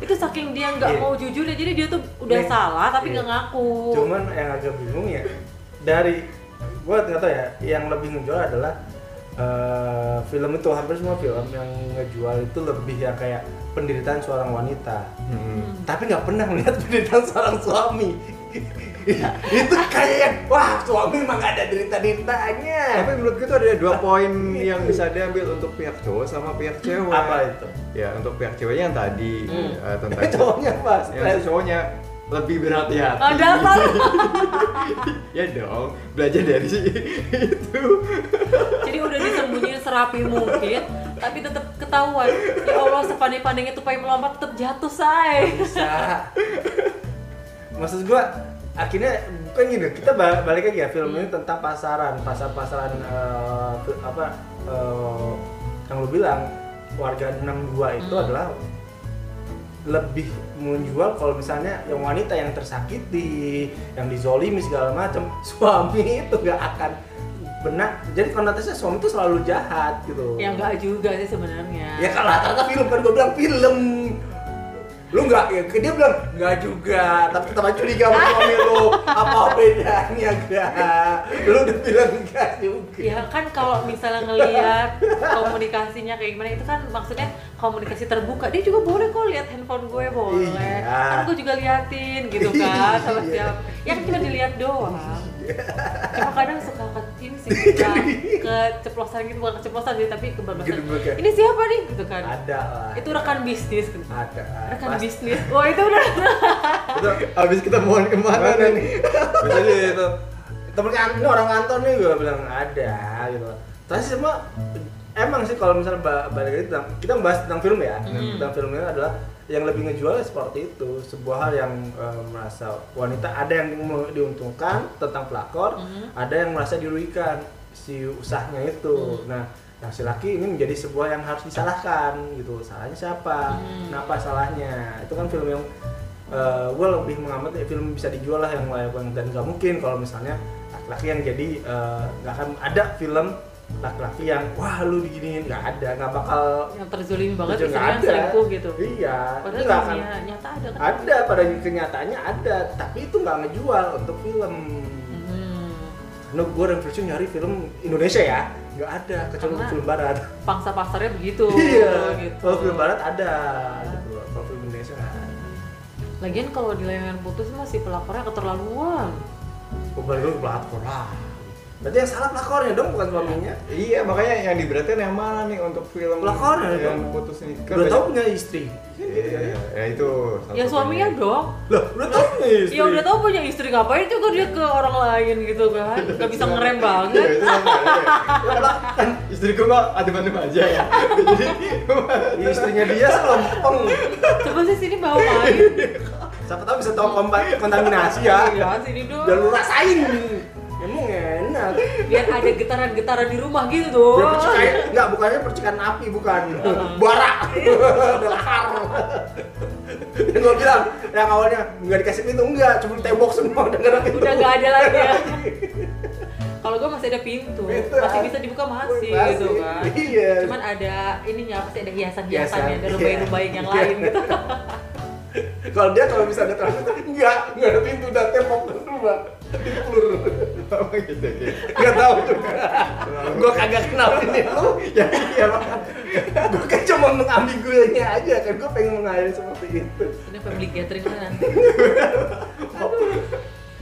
S4: itu saking dia
S3: Iya.
S4: nggak mau jujur ya jadi dia tuh udah
S3: Iya.
S4: salah tapi
S3: Iya.
S4: nggak ngaku
S3: cuman yang agak bingung ya dari gue nggak tahu ya yang lebih ngejual adalah eh, film itu hampir semua film yang ngejual itu lebih yang kayak penderitaan seorang wanita
S2: Hmm.
S3: tapi nggak pernah melihat penderitaan seorang suami Iya, itu kayak yang, wah suami mah nggak ada derita deritanya
S2: tapi menurut gue tuh ada dua poin yang bisa diambil untuk pihak cowok sama pihak cewek
S3: apa itu Hmm.
S2: ya untuk pihak ceweknya yang tadi eh, tentang
S3: cowoknya apa
S2: yang
S3: stres
S2: cowoknya lebih berat ya
S4: Oh, dasar lu.
S2: ya dong belajar dari itu
S4: Jadi udah disembunyiin serapi mungkin, tapi tetap ketahuan. Ya Allah, sepandai-pandainya tupai melompat tetap jatuh, say.
S3: bisa maksud gua akhirnya bukan gini kita ba- balik lagi ya film
S4: Hmm.
S3: ini tentang pasaran pasar pasaran eh, fil- apa eh, yang lu bilang warga 62 itu
S4: Hmm.
S3: adalah lebih menjual kalau misalnya yang wanita yang tersakiti, yang dizolimi segala macam, suami itu nggak akan benar. Jadi konotasinya suami itu selalu jahat gitu.
S4: Ya enggak juga sih sebenarnya.
S3: Ya kan rata-rata film kan gue bilang film. Lu nggak ya dia bilang nggak juga, tapi tetap aja curiga sama suami lu. Apa bedanya gak? Lu udah bilang enggak juga.
S4: Ya kan kalau misalnya ngelihat komunikasinya kayak gimana itu kan maksudnya komunikasi terbuka. Dia juga boleh kok lihat handphone gue boleh.
S3: Iya.
S4: Kan gue juga liatin gitu kan sama
S3: Iya.
S4: siapa. Ya kan cuma dilihat doang. cuma kadang suka ke ini sih suka keceplosan gitu bukan keceplosan sih tapi kebablasan
S3: Gedebekan.
S4: ini siapa nih gitu kan
S3: ada lah
S4: itu rekan bisnis gitu.
S3: ada
S4: rekan
S3: Pasti.
S4: bisnis wah itu udah
S2: Abis kita mohon kemana
S3: Mana
S2: nih?
S3: nih? Misalnya itu temen kan- ini orang kantor nih gue bilang ada gitu. Tapi semua emang sih kalau misalnya ba- balik lagi tentang kita membahas tentang film ya,
S4: Hmm.
S3: tentang film ini adalah yang lebih ngejual ya seperti itu sebuah hal yang eh, merasa wanita ada yang mau diuntungkan tentang pelakor,
S4: Mhm.
S3: ada yang merasa dirugikan si usahanya
S4: Hmm.
S3: itu. Nah, yang si laki ini menjadi sebuah yang harus disalahkan gitu. Salahnya siapa?
S4: Hmm.
S3: Kenapa salahnya? Itu kan film yang gue lebih mengamati film bisa dijual lah yang layak banget. dan gak mungkin kalau misalnya laki-laki yang jadi eh, nggak akan ada film laki-laki yang wah lu diginiin nggak ada nggak bakal
S4: yang terzolimi banget
S3: Jujur, nggak
S4: misalnya selingkuh gitu
S3: iya itu
S4: padahal
S3: nggak akan
S4: dunia nyata ada kan
S3: ada pada kenyataannya ada tapi itu nggak ngejual untuk film
S4: Hmm.
S3: no gue referensi nyari film Indonesia ya nggak ada kecuali
S4: Karena-
S3: film barat
S4: pangsa pasarnya begitu
S3: iya
S4: gitu
S3: kalau film barat ada gitu loh. kalau film Indonesia nggak ada
S4: lagian kalau di layangan putus masih pelapornya keterlaluan
S3: gue balik lagi ke pelakor lah berarti yang salah pelakornya dong bukan suaminya
S2: Iya makanya yang diberatkan yang mana nih untuk film
S3: Pelakor ya,
S2: yang
S3: Bang?
S2: putus nih? Kan
S3: udah
S2: banyak-
S3: tau punya istri
S2: Iya, ya itu. salah
S4: ya
S2: satunya.
S4: suaminya dong
S3: loh udah tau punya istri
S4: ya udah tau punya istri ngapain juga dia ke orang lain gitu kan gak bisa ngerem
S2: Iya,
S4: banget
S2: itu sama, iya. Ya, lah, kan istriku mah adem-adem aja ya. Jadi
S3: ya, istrinya dia selompong
S4: coba sih sini gitu bawa main
S3: siapa tahu bisa tahu kompa- kontaminasi ya
S4: Iya, sini dong
S3: udah lu rasain emang enak
S4: biar ada getaran-getaran di rumah gitu tuh
S3: Udah percikan, enggak bukannya percikan api bukan bara udah lahar dan gue bilang yang awalnya nggak dikasih pintu enggak cuma tembok semua udah nggak ada pintu
S4: udah nggak ada lagi ya kalau gue masih ada pintu
S3: Pintu,
S4: masih
S3: ah.
S4: bisa dibuka masih,
S3: Masih,
S4: gitu kan
S3: iya.
S4: cuman ada ininya pasti ada hiasan-hiasannya
S3: Hiasan,
S4: ada
S3: iya.
S4: rubai-rubai yang
S3: Iya.
S4: lain gitu
S3: kalau dia kalau bisa ada terang enggak enggak ada pintu udah tembok rumah Itu peluru
S2: sama gitu ya.
S3: nggak tahu juga gue kagak kenal ini lu ya iya gue kan cuma mengambigunya aja kan gue pengen mengalir seperti itu
S4: ini family gathering mana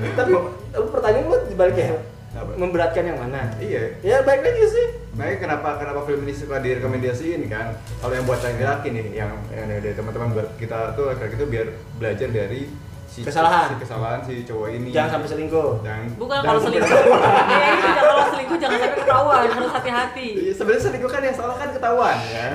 S3: tapi lu pertanyaan lu dibaliknya
S2: Apa?
S3: memberatkan yang mana
S2: Iya.
S3: ya baik lagi sih
S2: Makanya kenapa kenapa film ini suka direkomendasiin kan? Kalau yang buat laki-laki nih, yang yang dari teman-teman buat kita tuh laki-laki tuh biar belajar dari si si
S3: Kesalahan.
S2: kesalahan si cowok
S4: Hmm.
S2: ini.
S3: jangan sampai selingkuh
S2: Jangan-
S4: bukan
S2: jangan
S4: kalau
S2: sampai-
S4: selingkuh ya itu jangan- kalau selingkuh jangan sampai ketahuan harus hati-hati
S2: Iya, Sebenarnya selingkuh kan yang salah kan ketahuan ya.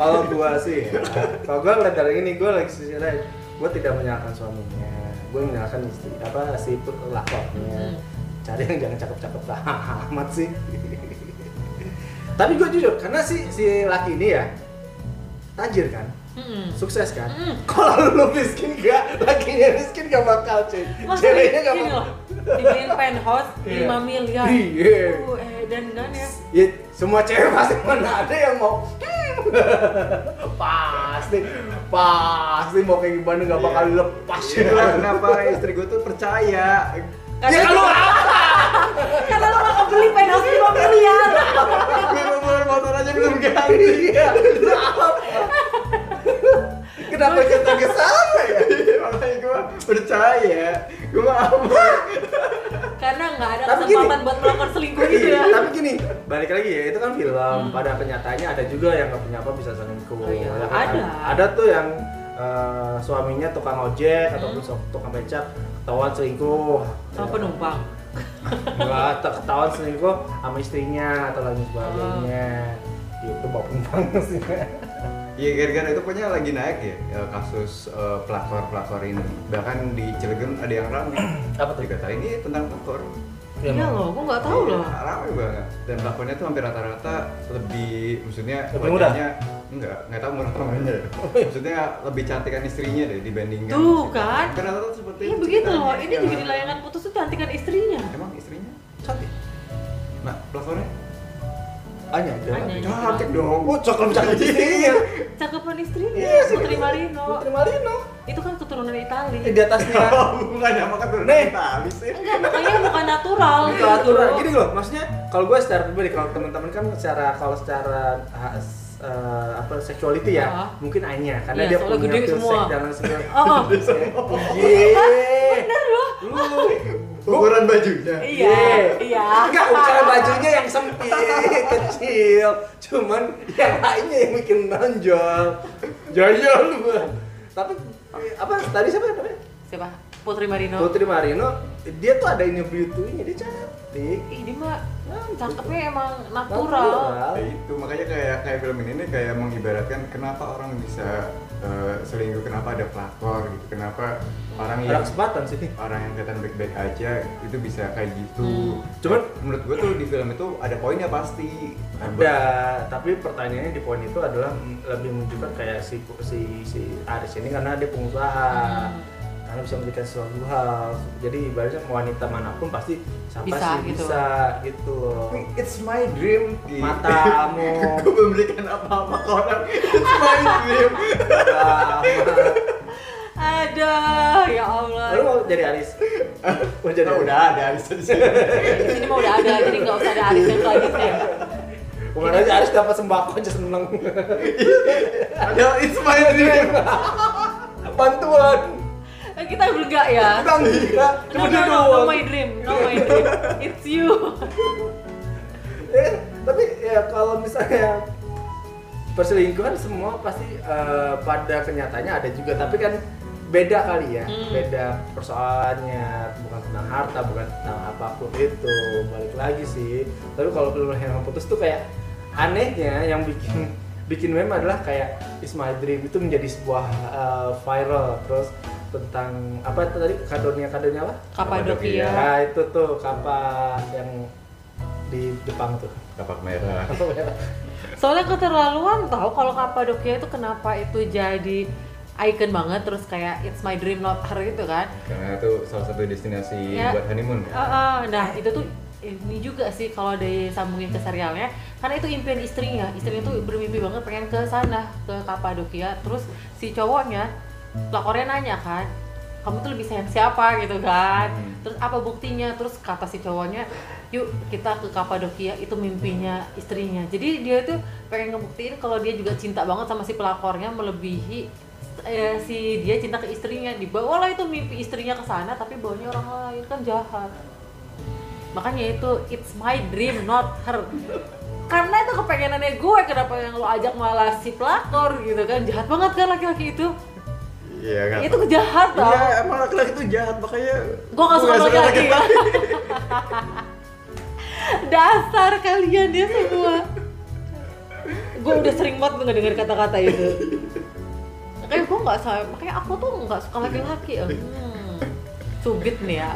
S3: kalau gua sih ya, kalau gua ngeliat dari ini gua lagi sisi lain gua tidak menyalahkan suaminya gua menyalahkan istri apa si pelakornya
S4: Hmm.
S3: cari yang jangan cakep-cakep lah amat sih tapi gua jujur karena si si laki ini ya tajir kan
S4: Mm-mm.
S3: sukses kan
S4: Hmm.
S3: kalau lu miskin gak lakinya miskin gak bakal cuy
S4: Masa
S3: ceweknya gak
S4: gini
S3: bakal
S4: loh, dibeliin penthouse
S3: Iya.
S4: 5 miliar
S3: Iya.
S4: Uh, eh, dan dan ya
S3: Ya, semua cewek pasti mana ada yang mau pasti pasti mau kayak gimana nggak bakal
S2: Iya.
S3: lepas
S2: Iya,
S3: gitu
S2: kenapa istri gue tuh percaya
S3: ya kalau apa
S4: Karena lo gak beli penthouse 5 miliar
S2: gue mau beli motor aja belum ganti
S3: iya itu apa kenapa kita ke sana ya
S2: Iya, makanya gue percaya gue mau
S4: Karena gak ada
S3: Tapi gini.
S4: kesempatan buat melakukan selingkuh itu ya
S3: Iya,
S4: Hmm.
S3: tapi gini balik lagi ya itu kan film pada kenyataannya ada juga yang nggak punya apa bisa selingkuh
S4: Oh iya,
S3: Ya kan?
S4: ada.
S3: ada tuh yang eh, suaminya tukang ojek
S4: Hmm.
S3: ataupun tukang becak ketahuan selingkuh
S4: Sama
S3: Ya.
S4: penumpang
S3: Enggak, tak ketahuan selingkuh sama istrinya atau lain sebagainya.
S4: Oh.
S3: Itu bapak banget sih.
S2: Iya gara-gara itu punya lagi naik ya eh, kasus eh, pelakor-pelakor ini bahkan di Cilegon ada yang ramai
S3: Apa tuh?
S2: dikatain ini tentang pelakor
S4: Iya loh, gue gak tau loh
S2: Iya, ramai banget dan pelakornya tuh hampir rata-rata lebih maksudnya
S3: Lebih muda?
S2: wajahnya enggak enggak tahu murah temannya maksudnya lebih cantikan istrinya deh dibandingkan
S4: Tuh, kan?
S2: karena rata seperti
S4: Iya
S2: itu
S4: begitu loh,
S2: ceritanya. Iya.
S4: ini juga di layangan putus tuh cantikan istrinya
S2: emang istrinya
S3: Cantik.
S2: nah pelakornya
S3: Anya ada.
S4: Anya. Iya,
S2: cantik dong Iya.
S3: Oh, cakep cakep istrinya.
S4: Cakepan istrinya,
S3: Iya sih,
S4: Putri
S3: betul.
S4: Marino
S3: Putri Malino.
S4: Itu kan keturunan Itali
S3: Eh, di atasnya.
S2: bukan ya makan tuh
S3: Nih.
S2: tali sih
S4: Enggak, makanya bukan natural
S3: Kalau
S4: gitu.
S3: aturan Nah, gini loh, maksudnya kalau gue secara pribadi kalau teman-teman kan secara kalau secara ah, s- eh, apa sexuality ya,
S4: Ah.
S3: mungkin Anya karena
S4: Iya,
S3: dia
S4: soalnya
S3: punya
S4: gede
S3: feel
S4: semua.
S3: sex dan lain sebagainya.
S4: Oh,
S3: Iya.
S4: bener loh
S3: Lu
S2: ukuran bajunya
S4: Iya, iya.
S3: Enggak, ukuran bajunya yang sempit, kecil. Cuman yang lainnya yang bikin menonjol.
S2: jaya lu Bang.
S3: Tapi apa tadi siapa namanya?
S4: Siapa? Putri Marino.
S3: Putri Marino, dia tuh ada ini beauty-nya, dia cantik.
S4: Ini mah
S3: Nah,
S4: cakepnya emang natural.
S2: Ya itu makanya kayak kayak film ini nih kayak mengibaratkan kenapa orang bisa eh, selingkuh kenapa ada pelakor gitu kenapa orang
S3: Ada
S2: yang
S3: kesempatan sih.
S2: orang yang kelihatan baik-baik aja itu bisa kayak gitu
S4: Hmm.
S2: cuman menurut gue tuh di film itu ada poinnya pasti
S5: Ada, tapi pertanyaannya di poin itu adalah m- lebih menunjukkan kayak si si si Aris ini karena dia pengusaha.
S4: Hmm.
S5: Karena bisa memberikan sesuatu hal. Jadi ibaratnya wanita manapun pasti siapa
S4: Bisa,
S5: sih
S4: gitu.
S5: bisa gitu loh.
S2: It's my dream Ki.
S5: Matamu.
S2: Gue memberikan apa-apa ke orang It's my dream
S5: Ah,
S4: Ada, ya Allah.
S5: Lu mau jadi Aris? Mau jadi
S2: Jadi udah ada bisa di sini
S4: Di sini mah udah ada, jadi nggak usah ada Aris yang selanjutnya.
S5: Kemarin aja Aris dapat sembako aja seneng.
S2: Padahal it's my dream
S3: Bantuan.
S4: Eh, Kita enggak ya?
S3: Bang, gila.
S4: No,
S3: Cuma
S4: no,
S3: dia
S4: no, no
S3: doang.
S4: my dream, no my dream. It's you.
S3: Eh, tapi ya kalau misalnya perselingkuhan semua pasti eh, pada kenyataannya ada juga, tapi kan beda kali ya,
S4: Hmm.
S3: beda persoalannya, bukan tentang harta, bukan tentang apapun itu, balik lagi sih. Tapi kalau film yang putus tuh kayak anehnya yang bikin bikin meme adalah kayak Is My Dream itu menjadi sebuah eh, viral terus tentang apa tadi kadonya kadonya apa?
S4: Kapadokia.
S3: Nah itu tuh kapal yang di Jepang tuh.
S2: Kapak merah
S4: Soalnya keterlaluan tahu kalau Kapadokia itu kenapa itu jadi icon banget terus kayak it's my dream not her gitu kan.
S2: Karena itu salah satu destinasi
S4: Ya.
S2: buat honeymoon kan?
S4: Eh, eh, nah itu tuh ini juga sih kalau disambungin ke serialnya karena itu impian istrinya istrinya tuh bermimpi banget pengen ke sana ke Kapadokia terus si cowoknya pelakornya nanya kan kamu tuh lebih sayang siapa gitu kan
S2: Hmm.
S4: terus apa buktinya terus kata si cowoknya yuk kita ke Kapadokia itu mimpinya istrinya jadi dia tuh pengen ngebuktiin kalau dia juga cinta banget sama si pelakornya melebihi eh, si dia cinta ke istrinya dibawalah itu mimpi istrinya ke sana tapi bawanya orang lain kan jahat makanya itu it's my dream not her karena itu kepengenannya gue kenapa yang lo ajak malah si pelakor gitu kan jahat banget kan laki-laki itu
S2: Iya kan
S4: itu jahat tau
S2: Iya emang laki-laki itu jahat makanya
S4: gue gak suka laki-laki dasar kalian ya semua gue udah sering banget ngedenger kata-kata itu makanya gue nggak sa- makanya aku tuh nggak suka laki-laki hmm. subit nih ya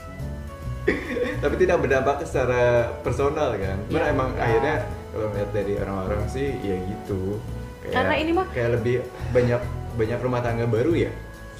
S2: tapi tidak berdampak secara personal kan Cuman
S4: Iya.
S2: emang akhirnya kalau melihat dari orang-orang sih ya gitu Kayak-
S4: Karena ini mah-
S2: kayak lebih banyak banyak rumah tangga baru ya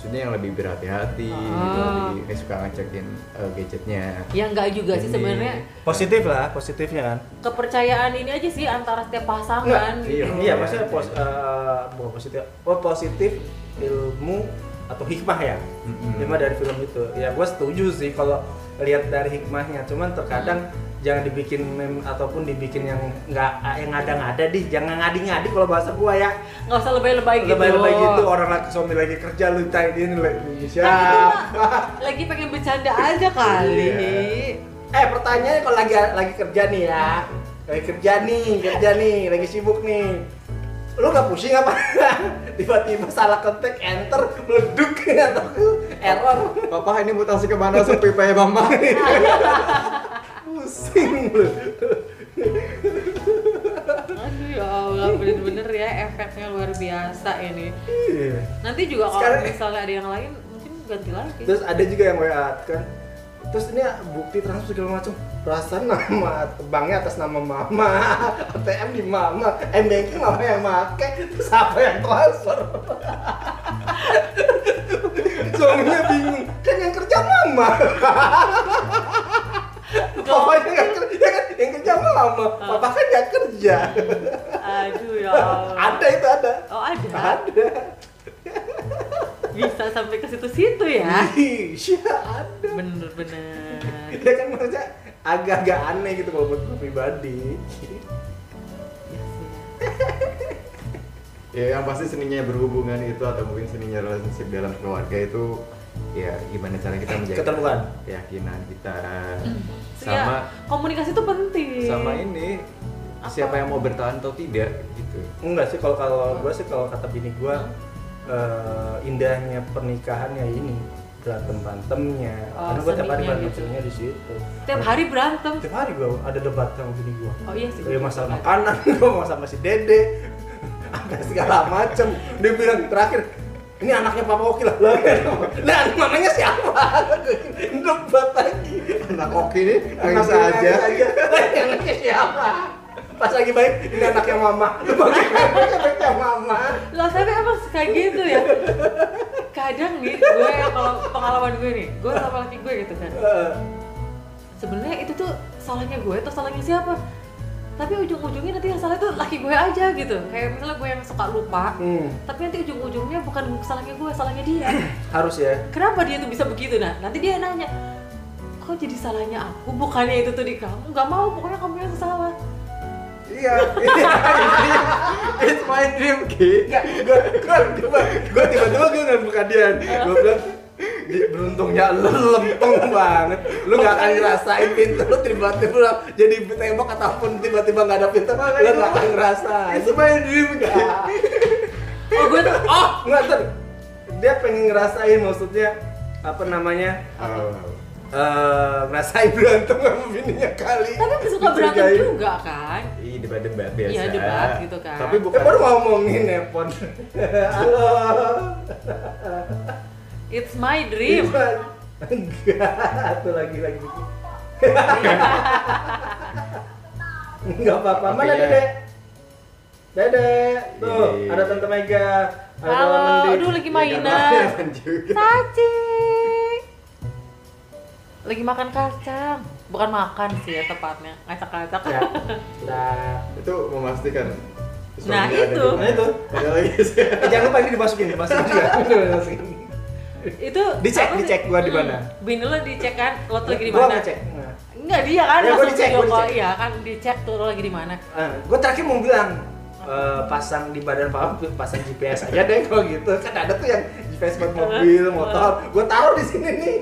S2: maksudnya yang lebih berhati-hati gitu,
S4: Ah.
S2: lebih kayak suka ngecekin eh, gadgetnya
S4: ya nggak juga sih
S2: Ini.
S4: sebenarnya
S5: Positif lah, positifnya kan.
S4: kepercayaan ini aja sih antara setiap pasangan
S2: Nggak,
S4: gitu.
S5: Iya, maksudnya pos, eh, bukan positif, oh, positif ilmu atau hikmah ya,
S2: Mm-mm.
S5: hikmah dari film itu. Ya gue setuju sih kalau lihat dari hikmahnya, cuman terkadang jangan dibikin meme ataupun dibikin yang nggak yang ngada-ngada deh, jangan ngadi-ngadi kalau bahasa gua ya.
S4: nggak usah lebay-lebay gitu
S5: Lebay-lebay gitu orang laki suami lagi kerja lu tanyain lu Indonesia.
S3: Ya.
S4: Kan itu mah lagi pengen bercanda aja kali
S3: Eh pertanyaannya kalau lagi lagi kerja nih ya, lagi kerja nih, kerja nih, lagi sibuk nih. Lu nggak pusing apa? Tiba-tiba salah ketik enter meleduk atau error.
S2: papa ini mutasi kemana ya, supi pay mama
S3: Pusing lu.
S4: Aduh ya Allah bener-bener ya efeknya luar biasa ini.
S3: Iya.
S4: Nanti juga kalau
S3: Sekarang-
S4: misalnya ada yang lain mungkin ganti lagi.
S3: Terus ada juga yang WA kan. Terus ini bukti transfer segala macam. Perasaan nama banknya atas nama mama, ATM di mama, m banking mama yang make, terus apa yang transfer? Suaminya bingung, kan yang kerja mama. Papanya nggak kerja, ya kan yang kerja mama. Papa kan nggak kerja.
S4: Aduh ya Allah.
S3: Ada itu ada.
S4: Oh ada.
S3: Ada.
S4: Bisa sampai ke situ-situ ya.
S3: Iya, ada.
S4: Bener-bener.
S3: ya kan maksudnya agak-agak aneh gitu kalau buat gue pribadi
S2: ya yang pasti seninya berhubungan itu atau mungkin seninya relationship dalam keluarga itu ya gimana cara kita menjaga
S3: Keterbukaan.
S2: keyakinan kita
S4: ya,
S2: sama
S4: komunikasi itu penting
S2: sama ini
S4: Iya. Apa?
S2: siapa yang mau bertahan atau tidak gitu
S3: Enggak sih kalau kalau gue sih kalau kata bini gue eh, indahnya pernikahan ya ini berantem berantemnya
S4: Oh,
S3: karena gue tiap hari
S4: seninya
S3: berantem
S4: gitu.
S3: seninya di situ
S4: tiap hari berantem
S3: tiap hari gue ada debat sama bini gue
S4: oh iya sih
S3: Dari masalah makanan gue mau sama si dede apa segala macem dia bilang terakhir ini anaknya papa oki lah lah lah namanya siapa debat lagi
S2: anak oke nih nangis
S3: Anaknya
S2: aja
S3: aja. Lah, anaknya siapa pas lagi baik ini anaknya mama bagaimana anaknya mama
S4: Loh tapi emang kayak gitu ya Kadang nih gue kalau pengalaman gue nih Gue sama laki gue gitu kan
S3: Eh,
S4: sebenarnya itu tuh salahnya gue atau salahnya siapa tapi ujung-ujungnya nanti yang salah tuh laki gue aja gitu kayak misalnya gue yang suka lupa
S3: hmm,
S4: tapi nanti ujung-ujungnya bukan salahnya gue salahnya dia
S3: harus ya
S4: kenapa dia tuh bisa begitu nah nanti dia nanya kok jadi salahnya aku bukannya itu tuh di kamu nggak mau pokoknya kamu yang salah
S2: iya it's my dream ki
S3: Enggak, gue tiba gue tiba-tiba gue ngeliat muka dia gue bilang "Di- beruntungnya lu lempeng banget lu gak akan ngerasain pintu lu tiba-tiba lu jadi tembok ataupun tiba-tiba gak ada pintu lu gak akan ngerasain Nah.
S2: it's my dream ki
S4: oh gue tuh oh
S3: nggak ter dia pengen ngerasain maksudnya apa namanya eh ngerasain berantem sama bininya kali
S4: tapi suka berantem
S3: Dicurigain.
S4: juga kan
S2: Iya debat-debat biasa.
S4: Iya, debat gitu kan.
S2: Tapi
S3: Eh,
S2: bukan
S3: baru ngomongin nepon halo
S4: it's my dream
S3: Enggak, tuh lagi lagi. Enggak apa-apa. Mana
S2: Artinya-
S3: Dede? Dede, tuh
S2: Ini.
S3: ada Tante Mega. Ada
S4: Halo,
S3: Mama Mendi.
S4: aduh, lagi
S3: Ya,
S4: mainan.
S3: kan?
S2: Iya, Kan juga.
S4: Saci. Lagi makan kacang. Bukan makan sih ya tepatnya, kacang-kacang.
S3: Ya. Nah,
S2: Itu memastikan. suaminya
S4: Nah,
S2: ada di
S4: itu.
S3: nah
S2: mana.
S3: itu.
S2: Ada lagi sih.
S3: Eh, jangan lupa ini dimasukin, dimasukin juga. Dimasukin.
S4: Itu
S3: Dicek,
S4: apa sih?
S3: dicek gua di mana.
S4: Hmm, Bini lo dicek kan, lo tuh lagi di
S3: Gua
S4: mana?
S3: ngecek. Nah,
S4: Enggak dia kan,
S3: Ya, gua
S4: langsung
S3: dicek,
S4: video
S3: gua
S4: call.
S3: dicek.
S4: Iya kan dicek tuh lo lagi di mana.
S3: gue eh, terakhir mau bilang eh, pasang di badan paham tuh pasang GPS aja deh kalau gitu kan ada tuh yang GPS buat mobil motor gue taruh di sini nih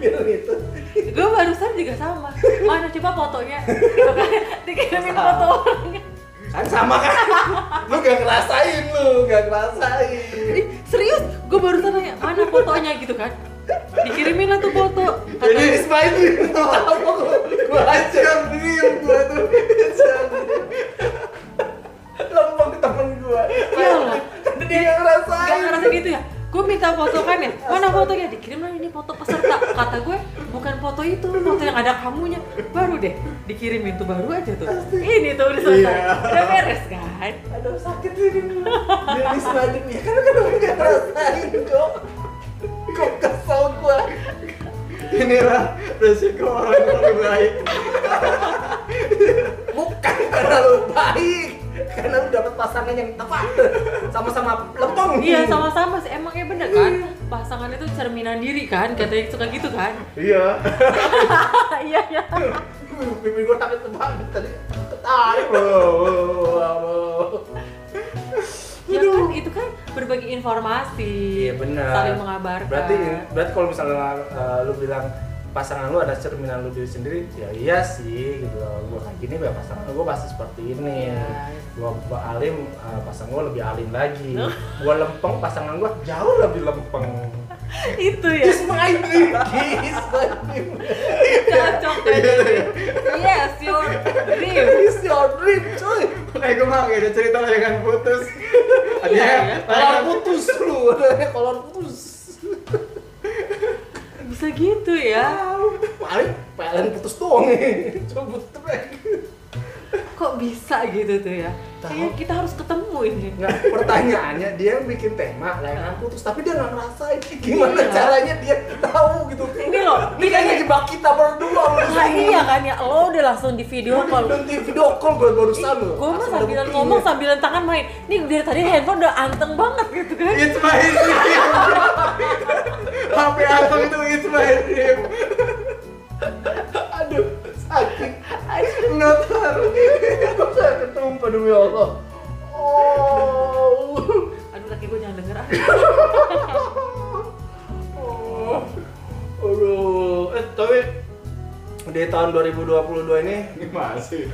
S3: biar gitu. itu
S4: Gue barusan juga sama. Mana coba fotonya? Gitu kan. Dikirimin foto orangnya.
S3: kan sama kan lu gak ngerasain lu gak ngerasain
S4: Ih, serius, gue barusan nanya, mana fotonya gitu kan. Dikirimin lah tuh foto. Kata-
S3: jadi Ismail itu apa gua- gua aja
S2: Dream gua tuh.
S3: lempeng ke temen gua
S4: Iya lah.
S3: Kan dia gak ngerasain
S4: Gak ngerasa gitu ya? Gue minta foto kan ya? Mana fotonya? Dikirim lah ini foto peserta Kata gue, bukan foto itu, foto yang ada kamunya Baru deh, dikirimin tuh baru aja tuh Ini tuh udah selesai,
S2: Iya.
S4: udah beres kan?
S3: aduh sakit ini gua dia Ismail ya kan kan lu gak ngerasain kok kok kesel gua
S2: Inilah resiko orang-orang baik.
S3: bukan karena lu Kan baik karena lu dapet pasangan yang tepat sama-sama lempeng
S4: Iya sama-sama sih, emangnya bener kan?
S3: Iya.
S4: Pasangan itu cerminan diri kan? Katanya suka gitu kan?
S2: Iya.
S4: Iya, iya
S3: Bibir gue takut banget tadi ketarik wow, wow, wow.
S4: Ya kan, itu kan berbagi informasi
S3: Iya benar.
S4: Saling mengabarkan
S3: Berarti iya. berarti kalau misalnya eh, lu bilang pasangan lu ada cerminan lu diri sendiri, ya iya sih gitu loh. Gua kayak gini ya pasangan gua pasti seperti ini.
S4: Iya.
S3: Gua, gua alim, eh, pasangan gua lebih alim lagi. gua lempeng, pasangan gua jauh lebih lempeng.
S4: Itu ya,
S3: It's my dream, it's my dream.
S4: cocok tadi Yes, your dream
S3: It's your dream, cuy.
S4: Eh,
S2: Makanya gue mah gak ada cerita layangan putus. Ada
S4: Iya,
S2: yang
S4: iya.
S3: Kolor putus lu, kolor putus.
S4: Bisa gitu ya
S3: paling PLN putus doang nih coba trek
S4: kok bisa gitu tuh ya
S3: Tahu.
S4: kayak kita harus ketemu ini
S3: nggak Nah, pertanyaannya dia yang bikin tema layangan putus tapi dia nggak ngerasain gimana
S4: Iya.
S3: caranya dia tahu gitu
S4: Ini loh,
S3: ini kayaknya jebak kita berdua loh
S4: lah iya kan ya lo udah langsung di video call
S3: nanti video call gue barusan lo
S4: gue mah sambilan ngomong sambilan tangan main nih dari tadi handphone udah anteng banget gitu kan
S2: It's my dream. HP abang itu it's my dream.
S3: aduh sakit notar kok saya ketumpah demi Allah oh
S4: aduh laki gue jangan denger ah
S3: Oh. Eh, tapi di tahun 2022 ini
S2: Ini masih.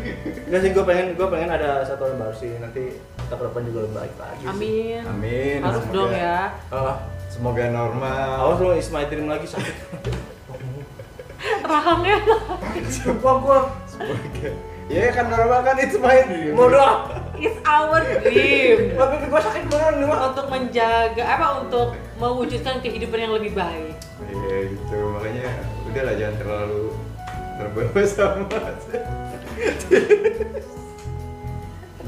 S3: enggak sih gue pengen gue pengen ada satu yang baru sih nanti kita ke depan juga lebih baik lagi sih.
S4: Amin.
S2: Amin.
S4: Harus
S2: Semoga-
S4: dong ya.
S3: Ah,
S2: Semoga normal.
S3: awas lo is my dream lagi sakit
S4: Rahangnya
S3: gua gua
S2: Semoga. Ya kan normal kan itu main
S3: bodoh ah.
S4: is our dream
S3: tapi gua sakit beneran nih mah
S4: untuk menjaga apa untuk mewujudkan kehidupan yang lebih baik.
S2: Iya gitu makanya udahlah jangan terlalu terbawa sama.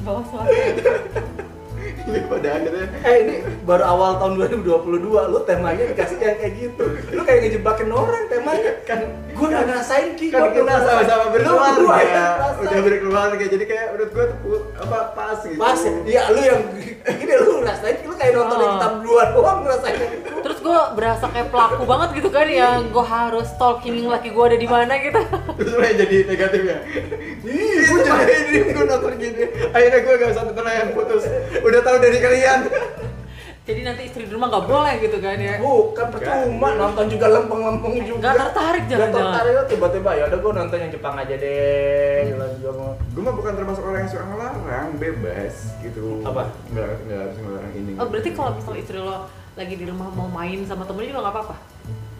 S4: Bawa suasana.
S2: Ini Iya, pada akhirnya
S3: eh ini baru awal tahun 2022 lu temanya dikasih yang kayak gitu lu kayak ngejebakin orang temanya kan gue udah ngerasain ki
S2: kan
S3: gua
S2: kita
S3: udah ngerasain.
S2: sama-sama
S3: Lu berdua
S2: berkeluarga,
S3: yang ngerasain.
S2: udah berkeluarga jadi kayak menurut gue tuh apa pas gitu.
S3: Pas ya, iya lu yang gini lu ngerasain, lu kayak nonton
S4: Oh.
S3: yang kita berdua doang ngerasain itu.
S4: Terus gue berasa kayak pelaku banget gitu kan yang gue harus stalking laki gue ada di mana gitu.
S2: Terus mulai jadi negatif ya. Ih, gue jadi ini gue nonton gini. Akhirnya gue gak bisa nonton yang putus. Udah tahu dari kalian.
S4: Jadi nanti istri di rumah nggak boleh gitu kan ya.
S3: Bukan percuma
S2: Kan.
S3: nonton juga lempeng-lempeng juga.
S4: Nggak tertarik,
S3: Nggak
S4: jangan-jangan.
S3: tertarik lu tiba-tiba ya udah gua nonton yang Jepang aja deh. Gila juga mau.
S2: Gue mah bukan termasuk orang yang suka ngelarang, bebas gitu.
S3: Apa?
S2: Nggak, nggak harus ngelarang ini. gitu.
S4: Oh berarti kalau misal istri lo lagi di rumah mau main sama temennya juga nggak apa-apa?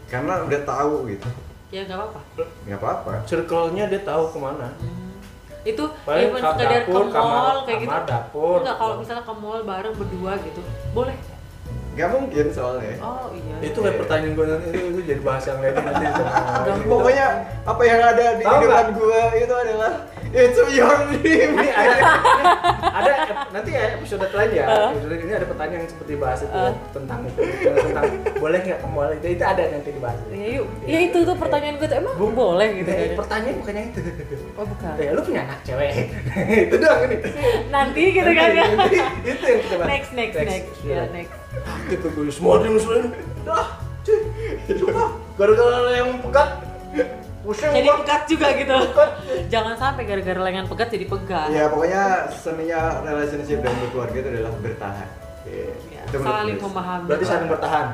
S2: Karena udah tahu gitu.
S4: Ya nggak apa-apa.
S2: Nggak apa-apa.
S3: Circle-nya dia tahu kemana.
S4: Itu
S3: Paling
S4: even
S3: ke
S4: sekedar ke
S3: dapur,
S4: mall
S3: kamar-
S4: kayak gitu.
S3: kamar, dapur.
S4: Enggak kalau misalnya ke mall bareng berdua gitu. Boleh.
S2: Nggak mungkin soalnya.
S4: Oh iya.
S3: Itu kayak pertanyaan gua nanti itu, itu jadi bahas yang lain Gitu. nanti.
S2: Nah, pokoknya apa yang ada di
S3: Tahu
S2: kehidupan
S3: nggak?
S2: gue itu adalah it's your dream.
S3: ini ada ini ada ep- nanti ya episode lain ya episode ini ada pertanyaan yang seperti bahas itu
S4: Uh.
S3: tentang itu tentang boleh nggak ke mall itu itu ada nanti dibahas
S4: Ya yuk. Ya itu tuh pertanyaan gue tuh emang
S3: Bu-
S4: boleh gitu kan.
S3: Eh,
S4: ya?
S3: pertanyaan bukannya itu
S4: Oh bukan.
S3: ya lu punya anak cewek itu doang ini
S4: Nanti gitu kan ya.
S3: Nanti, itu yang kita bahas
S4: Next next next. Ya next.
S3: gitu gue semua dia musuhin dah cuy sumpah gara-gara lo yang pegat pusing
S4: Jadi
S3: gua
S4: pegat juga gitu. Jangan sampai gara-gara lengan pegat jadi pegat.
S2: Ya pokoknya seninya relationship dan berkeluarga itu adalah bertahan. Iya.
S4: Ya,
S2: Itu menurut
S4: saling
S2: gue.
S4: memahami. Eh,
S3: berarti saling bertahan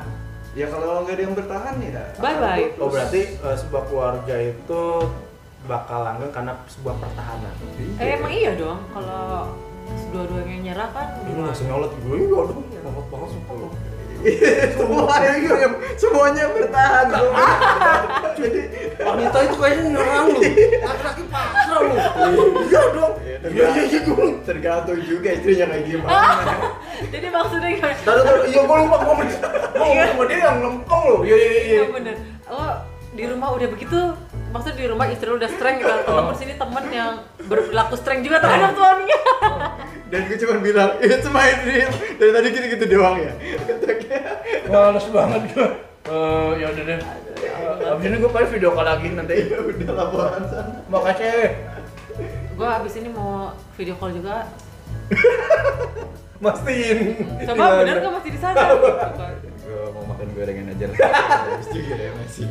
S2: Ya kalau nggak ada yang bertahan ya.
S4: Bye-bye.
S3: oh berarti eh, sebuah keluarga itu bakal langgeng karena sebuah pertahanan
S4: Eh, emang iya dong kalau dua-duanya nyerah kan
S3: Lu
S4: gimana?
S3: masih nyolot gue, iya aduh, nyolot banget sumpah lu
S2: semuanya semuanya bertahan. ah. Jadi
S3: Wanita Oh, itu kayaknya nyerang lu, laki-laki pasrah lu Iya dong, iya iya iya gue
S2: tergantung juga istrinya kayak gimana.
S4: Jadi maksudnya gimana?
S3: Taduh taduh, iya gue lupa, gue mau- mau sama dia yang lempeng lu Iya iya iya
S4: Iya bener. Lo di rumah udah begitu, maksudnya di rumah istri lo udah strength gitu.
S2: Oh.
S4: Kalau sini temen yang berperilaku strength juga terhadap suaminya.
S2: Dan gue cuma bilang "Eh, it's my dream. Dari tadi gitu-gitu doang ya.
S3: Males banget gue Eh ya udah deh Abis ini gue paling video call lagi nanti
S2: Ya udah laporan sana.
S3: Makasih
S4: Gue abis ini mau video call juga.
S3: Mastiin Iya,
S4: Coba bener gak masih di sana? Gitu kan.
S2: Gue mau makan gorengan aja lah. Habis juga ya masih.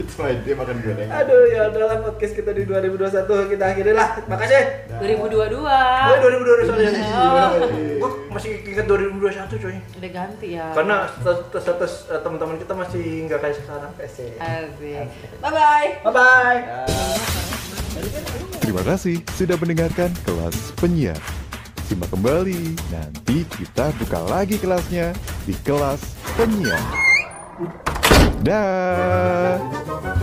S2: It's my dream makan gorengan.
S3: Aduh ya udahlah podcast kita di 2021 kita akhiri lah Makasih
S4: 2022.
S3: Gue 2021 sorry.
S4: Iya.
S3: Gue masih ingat 2021 coy.
S4: Udah ganti ya.
S3: Karena status, status eh, teman-teman kita masih nggak kayak sekarang.
S4: Asik. Bye bye.
S3: Bye bye.
S1: Terima kasih sudah mendengarkan kelas penyiar. Simak kembali, nanti kita buka lagi kelasnya di kelas penyiar. Dah.